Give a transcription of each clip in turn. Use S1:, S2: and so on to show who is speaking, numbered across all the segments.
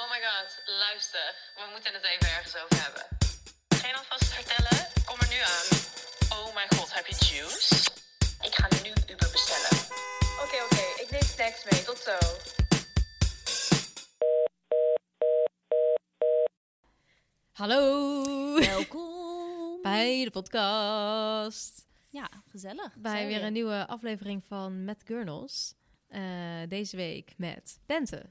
S1: Oh my god, luister. We moeten het even ergens over hebben. Ga je alvast vertellen? Kom er nu aan. Oh mijn god, heb je juice? Ik ga nu Uber bestellen. Oké, oké. Ik neem snacks mee. Tot zo.
S2: Hallo
S3: Welkom.
S2: bij de podcast.
S3: Ja, gezellig. eh,
S2: Bij
S3: Zijn
S2: weer een nieuwe aflevering van Met Gurnels. Eh, deze week met Bente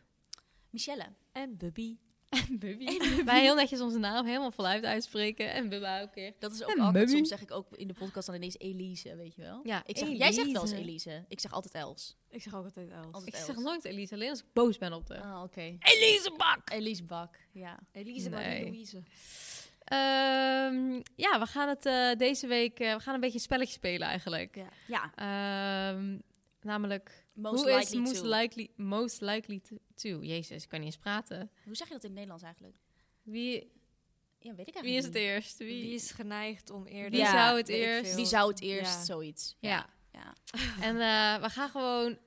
S3: Michelle.
S4: En Bubby.
S2: en Bubby. Wij heel netjes onze naam helemaal voluit uitspreken. En Bubba ook weer.
S3: Dat is ook
S2: En
S3: altijd,
S2: Mummy.
S3: soms zeg ik ook in de podcast dan ineens Elise, weet je wel.
S2: Ja,
S3: ik zeg, jij zegt wel eens
S2: Elise.
S3: Elise. Ik zeg altijd Els.
S4: Ik zeg ook altijd Els.
S3: Altijd
S2: Ik
S3: Els.
S2: zeg nooit Elise, alleen als ik boos ben op de.
S3: Ah, oké.
S4: Elise Bak!
S3: Elise Bak, ja.
S4: Elise maar
S2: Nee.
S4: niet Louise.
S2: Ehm, ja, we gaan het eh, deze week eh, we gaan een beetje een spelletje spelen eigenlijk.
S4: Ja.
S3: Ja.
S2: Ehm, namelijk,
S3: Most
S2: hoe is
S3: likely
S2: most,
S3: to.
S2: likely, most likely to, to? Jezus, ik kan niet eens praten.
S3: Hoe zeg je dat in het Nederlands eigenlijk?
S2: Wie,
S3: Ja, weet ik eigenlijk
S2: wie is het
S3: niet.
S2: eerst?
S4: Ehm, Wie is geneigd om eerder...
S2: Wie zou het
S4: weet ik
S2: eerst-
S4: veel.
S3: Wie zou het eerst?
S4: Ja.
S3: Zoiets.
S2: Ja.
S3: Ja.
S2: En eh, we gaan gewoon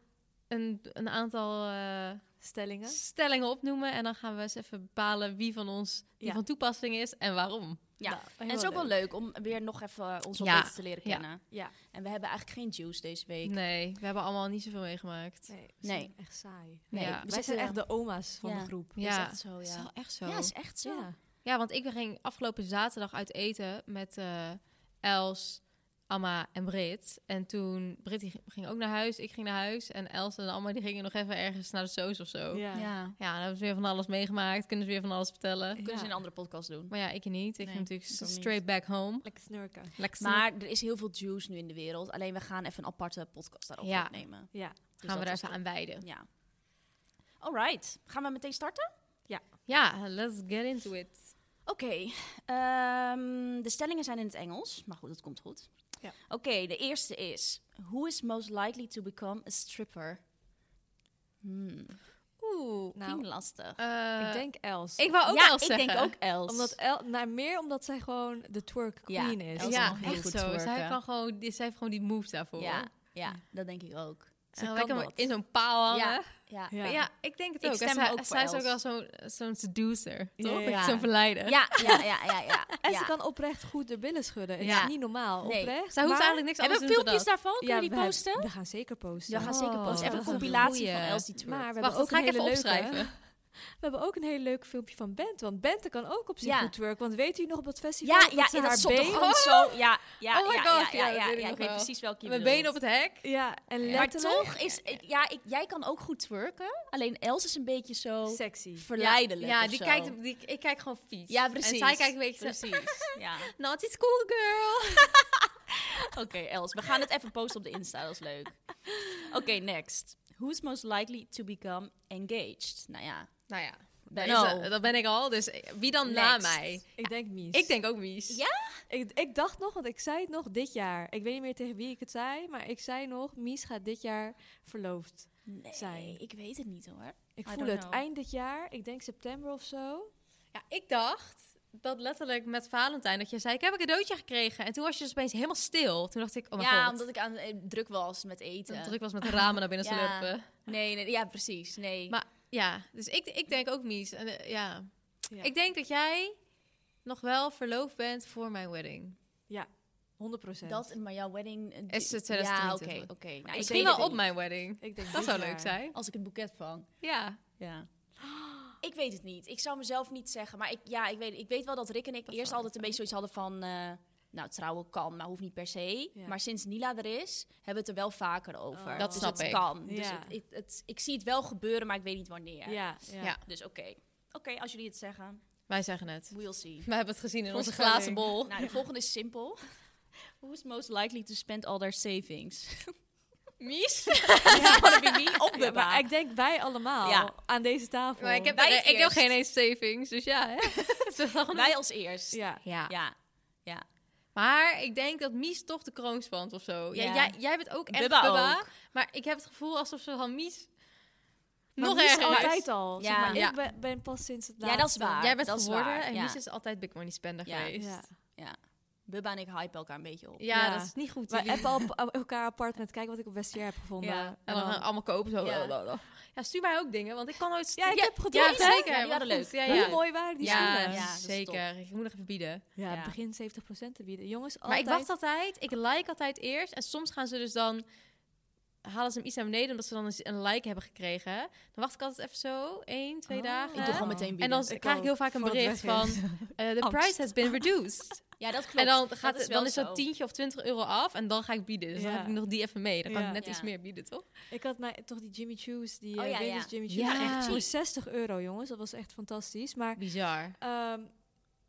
S2: een, een aantal eh,
S4: Stellingen.
S2: stellingen opnoemen. En dan gaan we eens even bepalen wie van ons die
S4: Ja.
S2: van toepassing is en waarom.
S3: Ja.
S4: Nou,
S3: en
S4: heel
S3: het is ook wel leuk om weer nog even eh, ons wat
S2: Ja.
S3: beter te leren
S2: Ja.
S3: kennen.
S4: Ja.
S3: En we hebben eigenlijk geen juice deze week.
S2: Nee, we hebben allemaal niet zoveel meegemaakt.
S4: Nee. we
S3: Nee.
S4: zijn Echt saai.
S3: Nee,
S2: Ja.
S3: we
S4: Wij zijn
S3: zitten-
S4: echt de oma's van
S3: Ja.
S4: de groep.
S3: is
S2: Ja,
S3: echt zo,
S2: Dat
S3: ja.
S2: is wel echt zo.
S3: Ja, is echt zo.
S4: Ja.
S2: Ja, want ik ging afgelopen zaterdag uit eten met eh, Els, Amma en Brit. En toen, Brit die ging ook naar huis, ik ging naar huis. En Els en Amma die gingen nog even ergens naar de soos of zo. Ja,
S4: Ja.
S3: Ja.
S2: dan hebben ze weer van alles meegemaakt, kunnen ze weer van alles vertellen.
S3: Kunnen ze in een
S4: Ja.
S3: andere podcast doen.
S2: Maar ja, ik niet. Ik
S3: Nee,
S2: ging natuurlijk
S3: ik ook niet.
S2: straight back home.
S4: Lekker snurken.
S2: Lekker
S3: Maar er is heel veel juice nu in de wereld. Alleen we gaan even een aparte podcast daarop
S2: Ja.
S3: opnemen.
S4: Ja.
S3: Dus
S2: gaan we
S3: dat
S2: daar
S3: is
S2: even aan wijden.
S3: Ja. Alright. Gaan we meteen starten?
S2: Ja, let's get into it.
S3: Oké. ehm, de stellingen zijn in het Engels. Maar goed, dat komt goed.
S4: Ja.
S3: Oké, de eerste is... Who is most likely to become a stripper? Hmm.
S2: Oeh.
S4: Nou,
S3: Vind ik lastig.
S4: ik denk Els.
S2: Eh, ik wou ook
S3: ja,
S2: Els
S3: Eh, ik
S2: zeggen.
S3: denk ook Els.
S4: Omdat El, nou, meer omdat zij gewoon de twerk
S3: Ja,
S4: queen is.
S3: Els
S2: ja,
S3: mag heel
S2: echt
S3: goed
S2: zo. Zij,
S3: twerken.
S2: kan gewoon, die- zij heeft gewoon die moves daarvoor.
S3: ja, ja, dat denk ik ook.
S2: Ze kan
S3: kan
S2: Oh. lekker
S3: dat.
S2: in zo'n paal hangen.
S3: Ja.
S2: Ja.
S3: Ja.
S4: Ja.
S2: ik denk het
S3: Ik
S2: ook. En
S3: stem
S2: zij,
S3: ook voor
S2: zij is ook
S3: Els.
S2: wel zo'n zo'n seducer, toch?
S4: Ja.
S2: Zo'n verleider.
S3: Ja, ja, ja, ja. ja,
S4: En
S3: ja.
S4: ze kan oprecht goed de billen schudden. Het
S2: Ja.
S4: is niet normaal.
S3: Nee.
S4: Oprecht.
S2: Zij hoeft
S4: maar-
S2: eigenlijk niks anders te
S3: Hebben we
S2: doen dan
S3: filmpjes
S2: dat.
S3: daarvan? Kunnen we die
S4: we-
S3: posten?
S4: We gaan zeker posten.
S3: We gaan zeker
S2: Oh,
S3: posten. Even
S2: dat
S3: een
S2: is een
S3: compilatie
S2: goeie.
S3: van Els die twerkt.
S4: Maar we
S2: Wacht,
S4: hebben
S2: dat
S4: ook
S2: ga
S4: een
S2: ik even
S4: hele leuke-
S2: opschrijven.
S4: We hebben ook een hele leuk filmpje van Bente. Want Bente kan ook op zich
S3: Ja.
S4: goed twerken. Want weet u nog op dat festival?
S3: Ja, ja,
S4: ze
S3: ja,
S4: haar
S3: dat is op de
S4: been-
S3: grond zo. Ja, ja,
S2: Oh my
S3: ja,
S2: God,
S3: ja, ja,
S2: ja, dat
S3: ja,
S2: weet ik
S3: ja,
S2: nog
S3: ik weet
S2: wel.
S3: precies welke je
S2: Mijn
S3: bedoelt.
S2: benen op het hek.
S4: Ja,
S3: Maar
S4: en letterlijk...
S3: toch is, ik- ja, ik, jij kan ook goed twerken. Alleen Els is een beetje zo
S4: Sexy.
S3: verleidelijk
S2: Ja,
S3: of
S2: die
S3: zo.
S2: kijkt, die, ik kijk gewoon vies.
S3: Ja, precies.
S2: En zij kijkt een beetje zo,
S3: Precies, ja.
S2: naughty school girl.
S3: Oké, Els, we gaan het even posten op de Insta, dat is leuk. Oké, next. Who's most likely to become engaged? Nou ja,
S2: Nou ja,
S3: Ben-
S2: dat, is-
S3: Nou.
S2: dat ben ik al. Dus wie dan na
S3: Next.
S2: mij?
S4: Ik denk Mies.
S2: Ik denk ook Mies.
S3: Ja?
S4: ik, ik dacht nog, want ik zei het nog dit jaar. Ik weet niet meer tegen wie ik het zei, maar ik zei nog... Mies gaat dit jaar verloofd.
S3: nee,
S4: Zijn.
S3: eh, ik weet het niet hoor.
S4: Ik
S3: I
S4: voel
S3: don't
S4: het
S3: know.
S4: eind dit jaar. Ik denk september of zo.
S2: Ja, ik dacht dat letterlijk met Valentijn dat je zei: Ik heb een cadeautje gekregen. En toen was je dus opeens helemaal stil. Toen dacht ik: Oh mijn
S3: ja,
S2: god.
S3: omdat ik aan, eh, druk was met eten.
S2: dat het druk was met de ramen naar binnen te
S3: Ja.
S2: lopen.
S3: Nee, nee, ja, precies. Nee.
S2: Maar ja, dus ik, ik denk ook Mies. En, eh, ja.
S4: Ja.
S2: Ik denk dat jij nog wel verloofd bent voor mijn wedding.
S4: Ja, 100%. 100%.
S3: Dat, en maar jouw wedding... eh,
S2: Is
S3: die-
S2: het 2020
S3: Ja, oké,
S2: of
S3: oké. Nou, ik
S2: Misschien
S3: weet
S2: wel
S3: het
S2: op
S3: niet.
S2: mijn wedding.
S4: ik denk
S2: Dat
S4: dit
S2: zou
S4: jaar.
S2: leuk zijn.
S3: Als ik het boeket vang.
S2: Ja.
S3: Ja. Ik weet het niet. Ik zou mezelf niet zeggen. Maar ik, ja, ik, weet, ik weet wel dat Rick en ik
S2: Dat
S3: eerst
S2: zou
S3: altijd een beetje zoiets hadden van... eh, nou, trouwen kan, maar hoeft niet per se.
S4: Ja.
S3: Maar sinds Nila er is, hebben we het er wel vaker over.
S4: Oh. Dat
S3: dus
S2: snap
S3: het
S2: ik.
S3: kan. Dus
S4: Ja.
S3: het, het, het- ik zie het wel gebeuren, maar ik weet niet wanneer.
S4: Ja,
S2: Ja.
S4: ja.
S3: Dus oké. Oké, als jullie het zeggen.
S2: Wij zeggen het.
S3: We'll see.
S2: We hebben het gezien in onze
S3: Voorspelling.
S2: glazen bol.
S3: Nou, de volgende is simpel. Who is most likely to spend all their savings?
S2: Mies?
S3: It's gonna be me of
S4: Ja,
S3: Bubba.
S4: maar ik denk wij allemaal
S3: Ja.
S4: aan deze tafel.
S2: Maar ik heb,
S3: Wij
S2: ik heb
S3: eerst.
S2: geen eens savings, dus ja. Hè? Het is wel een-
S3: Wij als eerst.
S4: Ja.
S2: ja.
S3: Ja.
S2: Maar ik denk dat Mies toch de kroon spant of zo. Ja,
S3: Ja.
S2: Jij, jij bent ook echt
S3: Bubba
S2: Bubba.
S3: ook.
S2: Maar ik heb het gevoel alsof ze van Mies...
S4: Maar
S2: nog
S4: Mies
S2: erger is.
S4: altijd al.
S3: Ja.
S4: Zeg maar,
S2: Ja.
S4: Ik ben, ben pas sinds het
S3: Ja,
S4: laatste.
S3: dat is waar.
S2: Jij bent
S3: dat is
S2: geworden
S3: waar,
S2: en
S3: ja.
S2: Mies is altijd big money spender
S3: Ja.
S2: geweest.
S4: Ja.
S3: Bubba en ik hype elkaar een beetje op.
S2: Ja,
S4: Ja.
S2: dat is niet goed.
S4: We
S2: jullie.
S4: appen al op- op elkaar apart met kijken wat ik op Westjaar heb gevonden.
S3: Ja.
S2: En dan allemaal kopen zo.
S3: Ja.
S2: Ja. stuur mij ook dingen, want ik kan nooit...
S4: Ja, ik heb
S2: Ja,
S4: gedroomd, hè?
S2: zeker.
S3: Ja, die
S2: wat
S3: waren
S2: goed.
S3: leuk.
S2: Ja,
S4: Hoe
S2: ja.
S4: mooi waren die
S2: ja,
S4: schoenen?
S3: Ja, dat is
S2: zeker. Ik moet nog even bieden.
S4: Ja,
S3: Ja.
S4: begin 70% te bieden. Jongens,
S2: Maar
S4: altijd...
S2: ik wacht altijd. Ik like altijd eerst. En soms gaan ze dus dan... Halen ze hem iets naar beneden, omdat ze dan een- een like hebben gekregen. Dan wacht ik altijd even zo. 1, twee
S4: Oh.
S2: dagen.
S3: Ik doe gewoon meteen
S2: en
S3: bieden.
S2: dan
S4: Ik
S2: krijg ik
S4: ook,
S2: heel vaak een
S4: voor het
S2: bericht van...
S4: weg is.
S2: eh, the price has been reduced.
S3: ja, dat klopt.
S2: en dan,
S3: Dat
S2: gaat, het-
S3: wel
S2: dan is
S3: zo.
S2: dat 10 of 20 euro af. En dan ga ik bieden. Dus dan
S4: Ja.
S2: heb ik nog die even mee. Dan kan
S4: Ja.
S2: ik net
S3: Ja.
S2: iets meer bieden, toch?
S4: Ik had mij toch die Jimmy Choo's, die
S3: Oh,
S4: eh,
S3: ja,
S4: Venus
S3: ja.
S4: Jimmy Choo's.
S2: Ja.
S4: Echt voor 60 euro, jongens. Dat was echt fantastisch. Maar
S2: Bizar.
S4: ehm,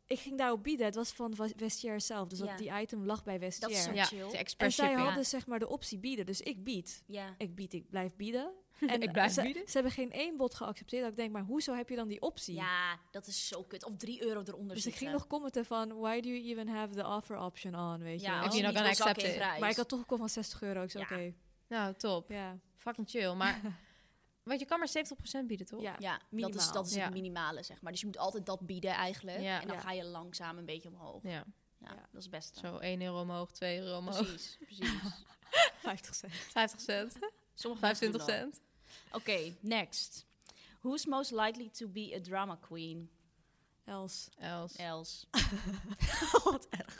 S4: ik ging daarop bieden. Het was van Wa- Westjair zelf. Dus dat
S3: Ja.
S4: die item lag bij
S3: Dat is zo
S4: Westjair.
S2: Ja,
S3: chill.
S2: de
S4: En
S2: express
S4: zij
S2: shipping.
S4: hadden zeg maar de optie bieden. Dus ik bied.
S3: Ja.
S4: Ik bied, ik blijf bieden. En eh,
S2: Ik blijf
S4: ze,
S2: bieden?
S4: Ze hebben geen één bod geaccepteerd. Dat ik denk, maar hoezo heb je dan die optie?
S3: ja, dat is zo kut. Of 3 euro eronder
S4: Dus ik ging
S3: zitten.
S4: nog commenten van, why do you even have the offer option on, weet je
S3: ja,
S4: wel.
S3: als
S2: je
S3: je
S2: nog
S3: niet
S2: kan
S3: wil zakken
S2: accepten.
S3: in prijs.
S4: Maar ik had toch gekocht van 60 euro. Ik zei,
S3: Ja.
S4: oké,
S2: Nou, top.
S4: ja.
S2: Fucking chill. Maar want je kan maar 70% bieden, toch?
S4: ja.
S3: Ja, dat is,
S4: minimaal.
S3: dat is
S2: Ja.
S3: het minimale, zeg maar. Dus je moet altijd dat bieden eigenlijk.
S2: Ja.
S3: En dan
S4: Ja.
S3: ga je langzaam een beetje omhoog. Ja,
S2: Ja.
S4: Ja.
S3: dat is best.
S2: Zo 1 euro omhoog, 2 euro omhoog,
S3: Precies, precies.
S4: 50 cent.
S2: 50 cent,
S3: Sommige
S2: 25 cent.
S3: Oké, next. Who's most likely to be a drama queen?
S4: Els.
S2: Els.
S3: Els.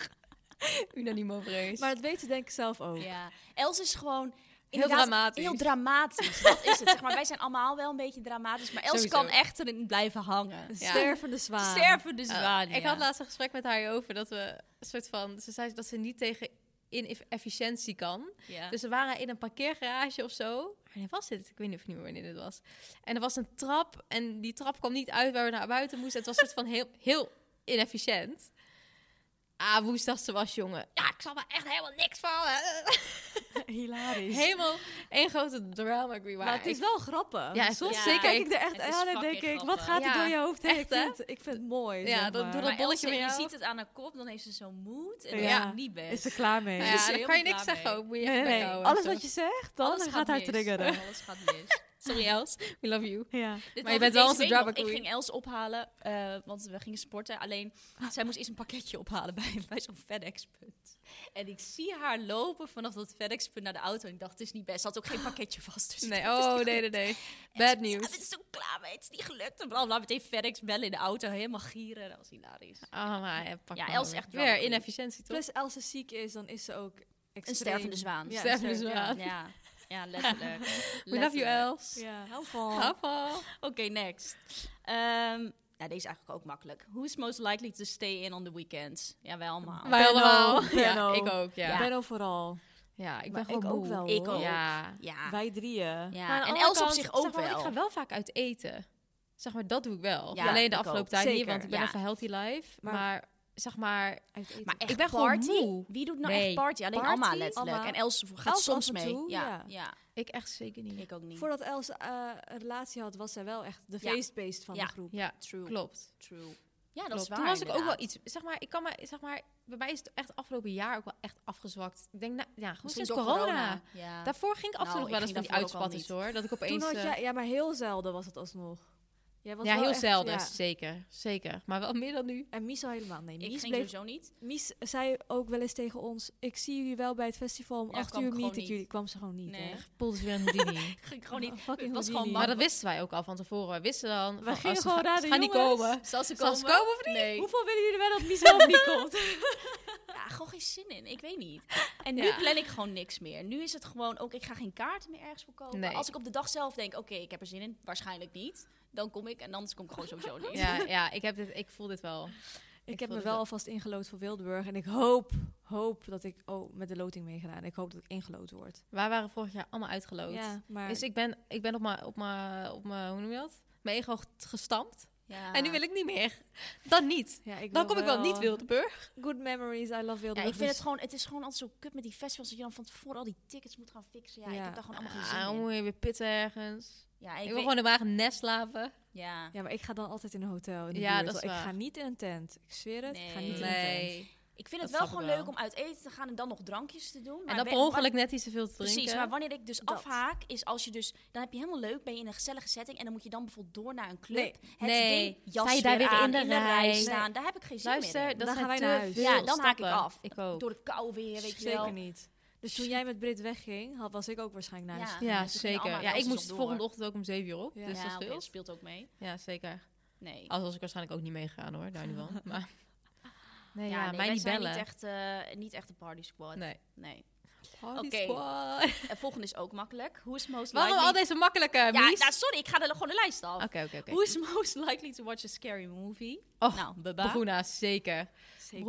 S2: Unaniem over eens.
S4: Maar dat weet ze denk ik zelf ook.
S3: Ja. Els is gewoon...
S2: Oh. Heel
S3: inderdaad
S2: dramatisch.
S3: Heel dramatisch, dat is het. Zeg maar, wij zijn allemaal wel een beetje dramatisch, maar Els
S2: Sowieso.
S3: kan echt erin blijven hangen.
S4: Een
S2: Ja.
S4: stervende zwaan.
S3: Stervende
S2: Oh,
S3: zwaan,
S2: Ik
S3: ja.
S2: had laatst een gesprek met haar over dat we een soort van... Ze zei dat ze niet tegen inefficiëntie kan.
S3: Ja.
S2: Dus we waren in een parkeergarage of zo. Wanneer was dit? Ik weet niet of niet meer wanneer dit was. En er was een trap en die trap kwam niet uit waar we naar buiten moesten. Het was een soort van heel, heel inefficiënt. Ah, woensdag ze was, jongen. Ja, Ah, ik zal er echt helemaal niks van.
S4: Hilarisch.
S2: Helemaal één grote drama queen.
S4: maar het is wel grappig.
S2: Ja,
S4: soms
S2: soms
S3: Ja.
S2: zeker.
S4: kijk ik er echt
S3: het is
S4: aan en denk
S3: fucking
S4: ik, wat
S3: grappig.
S4: gaat er
S2: Ja,
S4: door je hoofd heen?
S2: echt,
S4: Ik vind, het- ik vind het
S2: Ja,
S4: mooi.
S2: dat-
S4: zeg maar.
S2: doe
S3: Maar
S2: dat bolletje
S3: Els,
S2: bij
S3: Je
S2: jou.
S3: ziet het aan haar kop, dan heeft ze zo'n moed en
S4: Ja.
S3: dan is ze niet
S4: Is
S3: best.
S4: ze klaar mee?
S2: Ja,
S3: Ze is
S2: dan
S3: er
S2: kan je
S3: helemaal
S2: niks
S3: klaar
S2: zeggen
S3: mee.
S2: ook. Moet je
S4: Dus Nee, nee,
S2: bek
S4: nee.
S2: houden
S4: Alles
S2: en zo.
S4: wat je zegt, dan gaat, haar
S3: mis.
S4: triggeren.
S3: Alles gaat mis.
S2: Sorry Els, we love you.
S4: Ja.
S3: Dit
S2: Maar je bent
S3: was
S2: wel
S3: deze
S2: onze
S3: week
S2: drama
S3: nog. Ik
S2: queen.
S3: ging Els ophalen, eh, want we gingen sporten. Alleen, zij moest eerst een pakketje ophalen bij, bij zo'n FedEx-punt. En ik zie haar lopen vanaf dat FedEx-punt naar de auto. En ik dacht, het is niet best. Ze had ook geen pakketje vast. Dus ik
S2: Nee,
S3: dacht, het is
S2: oh
S3: niet
S2: nee, nee,
S3: goed.
S2: nee.
S3: En ze
S2: Bad
S3: zei, "Ja, dit
S2: news.
S3: is zo klaar mee, het is niet gelukt. En blablabla, meteen FedEx bellen in de auto. Helemaal gieren, dat was hilarisch.
S2: Oh, maar ja, pak
S3: Ja,
S2: me
S3: Els
S2: weer.
S3: echt drama
S2: weer
S3: queen.
S2: inefficiëntie toch?
S4: Plus als ze ziek is, dan is ze ook
S3: Een
S4: extreem.
S3: stervende zwaan.
S4: Ja,
S2: Stervende
S4: een ster-
S2: zwaan.
S3: Ja, ja letterlijk.
S2: We love you
S3: Letterlijk.
S2: Els.
S4: Ja, Ja, hou van.
S2: Papa.
S3: Oké, next. Ehm ja, deze is eigenlijk ook makkelijk. Who's most likely to stay in on the weekends? Ja, wij allemaal.
S2: Wij
S4: Benno,
S2: allemaal. Ja,
S4: Benno.
S2: ik ook,
S4: Ik
S2: ja.
S4: ben overal.
S2: Ja, ik ben
S4: Maar
S2: gewoon
S4: ik ook
S2: moe.
S4: wel,
S3: Ik
S4: hoor.
S3: ook.
S2: Ja.
S3: Ja.
S4: Wij
S3: ja.
S4: drieën.
S2: Maar aan de
S3: en
S2: andere
S3: Els op
S2: kant,
S3: zich ook
S2: zeg maar,
S3: wel.
S2: Ik ga wel vaak uit eten. Zeg maar, dat doe ik wel.
S3: Ja,
S2: Alleen de
S3: ik
S2: afgelopen
S3: ook.
S2: tijd niet,
S4: Zeker,
S2: want ik ben
S3: ja.
S2: even healthy life.
S4: Maar-
S2: Maar zeg maar,
S4: Uit eten.
S3: Maar echt
S2: Ik ben gewoon
S3: party?
S2: moe.
S3: Wie doet nou
S2: Nee.
S3: echt party? Alleen
S2: Party?
S3: Alma letterlijk.
S4: Alma.
S3: En Els gaat
S4: Els
S3: soms
S4: af en
S3: mee.
S4: toe,
S3: ja. Ja.
S4: ja.
S2: ik echt zeker niet.
S3: ik ook niet.
S4: Voordat Els eh, een relatie had, was zij wel echt de
S3: Ja.
S4: feestbeest van
S3: Ja.
S4: de groep.
S2: Ja,
S3: True.
S2: klopt.
S3: True. Ja, dat
S2: Klopt.
S3: is waar.
S2: Toen was ik ook wel
S3: inderdaad.
S2: iets, zeg maar, ik kan maar, zeg maar, bij mij is het echt afgelopen jaar ook wel echt afgezwakt. Ik denk, nou, ja, gewoon
S3: Misschien
S2: sinds
S3: door
S2: corona.
S3: Ja.
S2: Daarvoor ging ik af en toe
S3: Nou,
S2: nog wel
S3: ik
S2: eens van
S3: ging
S2: die
S3: daarvoor ook al
S2: uitspatters hoor. Dat ik opeens,
S4: Toen had
S2: eh,
S4: jij, ja, maar heel zelden was het alsnog. Jij was
S2: Ja,
S4: wel
S2: heel
S4: echt-
S2: zelden.
S4: ja.
S2: Zeker, zeker. Maar wel meer dan nu.
S4: En Mies al helemaal. Nee,
S3: Ik
S4: Mies,
S3: ging
S4: bleef,
S3: sowieso niet.
S4: Mies zei ook wel eens tegen ons... Ik zie jullie wel bij het festival om
S3: Ja,
S4: acht
S3: kwam
S4: uur
S3: ik gewoon
S4: meet ik
S3: niet.
S4: jullie. Kwam ze gewoon niet,
S3: Nee.
S4: hè?
S2: Poelde ze weer een Houdini.
S3: Ging ik gewoon niet.
S4: Oh, fucking
S3: het was gewoon
S4: Houdini.
S2: maar
S3: bang.
S2: dat wisten wij ook al van tevoren. Wij wisten dan...
S4: We
S2: van, oh,
S4: gingen
S2: ze
S4: gewoon
S2: gaan-
S4: raden,
S2: Ze gaan niet
S4: jongens.
S2: komen.
S3: Zal ze
S2: Zal
S3: komen?
S2: ze komen of niet?
S3: Nee.
S4: Hoeveel willen jullie wel dat Mies wel of niet komt?
S3: Ja, gewoon geen zin in. Ik weet niet. En
S2: Ja.
S3: nu plan ik gewoon niks meer. Nu is het gewoon ook, ik ga geen kaarten meer ergens voor kopen.
S2: Nee.
S3: Als ik op de dag zelf denk, oké, ik heb er zin in. Waarschijnlijk niet. Dan kom ik en anders kom ik gewoon sowieso niet.
S2: Ja, ja ik, heb dit, ik voel dit wel.
S4: Ik,
S2: Ik vond
S4: heb me
S2: het
S4: wel
S2: wel-
S4: alvast ingelood voor Wildeburg. En ik hoop, hoop dat ik... Oh, met de loting meegedaan. Ik hoop dat ik ingelood word.
S2: Wij waren vorig jaar allemaal uitgeloot.
S4: Ja, maar...
S2: Dus ik ben, ik ben op mijn, op mijn, op mijn, hoe noem je dat? Mijn ego g- gestampt.
S3: Ja.
S2: En nu wil ik niet meer. Dan niet.
S4: ja, ik
S2: Dan
S4: wil
S2: kom ik wel niet Wildeburg.
S4: Good memories, I love
S3: Ja,
S4: Wildeburg.
S3: ik vind
S4: dus-
S3: het gewoon, het is gewoon altijd zo kut met die festivals dat je dan van tevoren al die tickets moet gaan fixen. Ja,
S4: Ja.
S3: ik heb daar gewoon allemaal
S2: Ah,
S3: geen zin
S2: dan
S3: in.
S2: moet je weer pitten ergens.
S3: Ja,
S2: Ik,
S3: ik
S2: wil
S3: weet-
S2: gewoon in mijn eigen nest slapen.
S3: Ja.
S4: Ja, maar ik ga dan altijd in een hotel. In de
S2: Ja, dat
S4: buurt, want
S2: is
S4: Ik
S2: waar.
S4: ga niet in een tent. Ik zweer het. Ik ga niet in een tent.
S2: Nee.
S3: Ik vind het
S2: Dat
S3: wel
S2: snap ik
S3: gewoon
S2: wel.
S3: leuk om uit eten te gaan en dan nog drankjes te doen.
S2: En
S3: maar
S2: dan
S3: we-
S2: per ongeluk net iets te veel te drinken.
S3: Precies, maar wanneer ik dus
S4: Dat.
S3: afhaak, is als je dus... Dan heb je helemaal leuk, ben je in een gezellige setting... en dan moet je dan bijvoorbeeld door naar een club.
S4: Nee,
S3: het
S2: nee.
S3: ding, jas
S2: Sta je daar weer
S3: aan,
S2: in de
S3: rij
S2: rij?
S3: staan. Daar heb ik geen zin meer
S2: Luister,
S3: in.
S2: dat
S4: Dan
S2: zijn
S4: gaan wij
S2: te
S4: naar huis.
S2: veel
S3: Ja, dan haak ik
S2: stappen.
S3: af.
S2: Ik ook.
S3: Door het kou weer, weet je wel.
S4: Zeker niet. Dus toen jij met Brit wegging, had, was ik ook waarschijnlijk naar
S3: Ja.
S4: huis.
S2: Ja,
S3: Dus we gingen allemaal
S2: zeker. Ja, ik
S3: kastjes
S2: moest
S3: op door.
S2: volgende ochtend ook om 7 uur op.
S4: Ja.
S2: Dus Oh,
S3: Ja,
S2: dat
S3: oké, dat
S2: scheelt.
S3: speelt ook mee.
S2: Ja, zeker.
S3: Nee.
S2: Als was ik waarschijnlijk ook niet meegegaan hoor, daar niet van. Maar nee, ja,
S3: nee,
S2: mij
S3: wij
S2: niet
S3: zijn
S2: bellen.
S3: Niet echt, eh, niet echt een party squad.
S2: Nee.
S3: Nee.
S4: Party
S3: Oké.
S4: squad.
S3: En volgende is ook makkelijk. Who is most
S2: Waarom al
S3: likely...
S2: deze makkelijke,
S3: Ja,
S2: Mies?
S3: nou, sorry, ik ga er gewoon de lijst af.
S2: Oké, oké, oké. Oh,
S3: Who is most likely to watch a scary movie?
S2: Och,
S3: nou, Baba.
S2: Bruna, zeker.
S4: Zeker.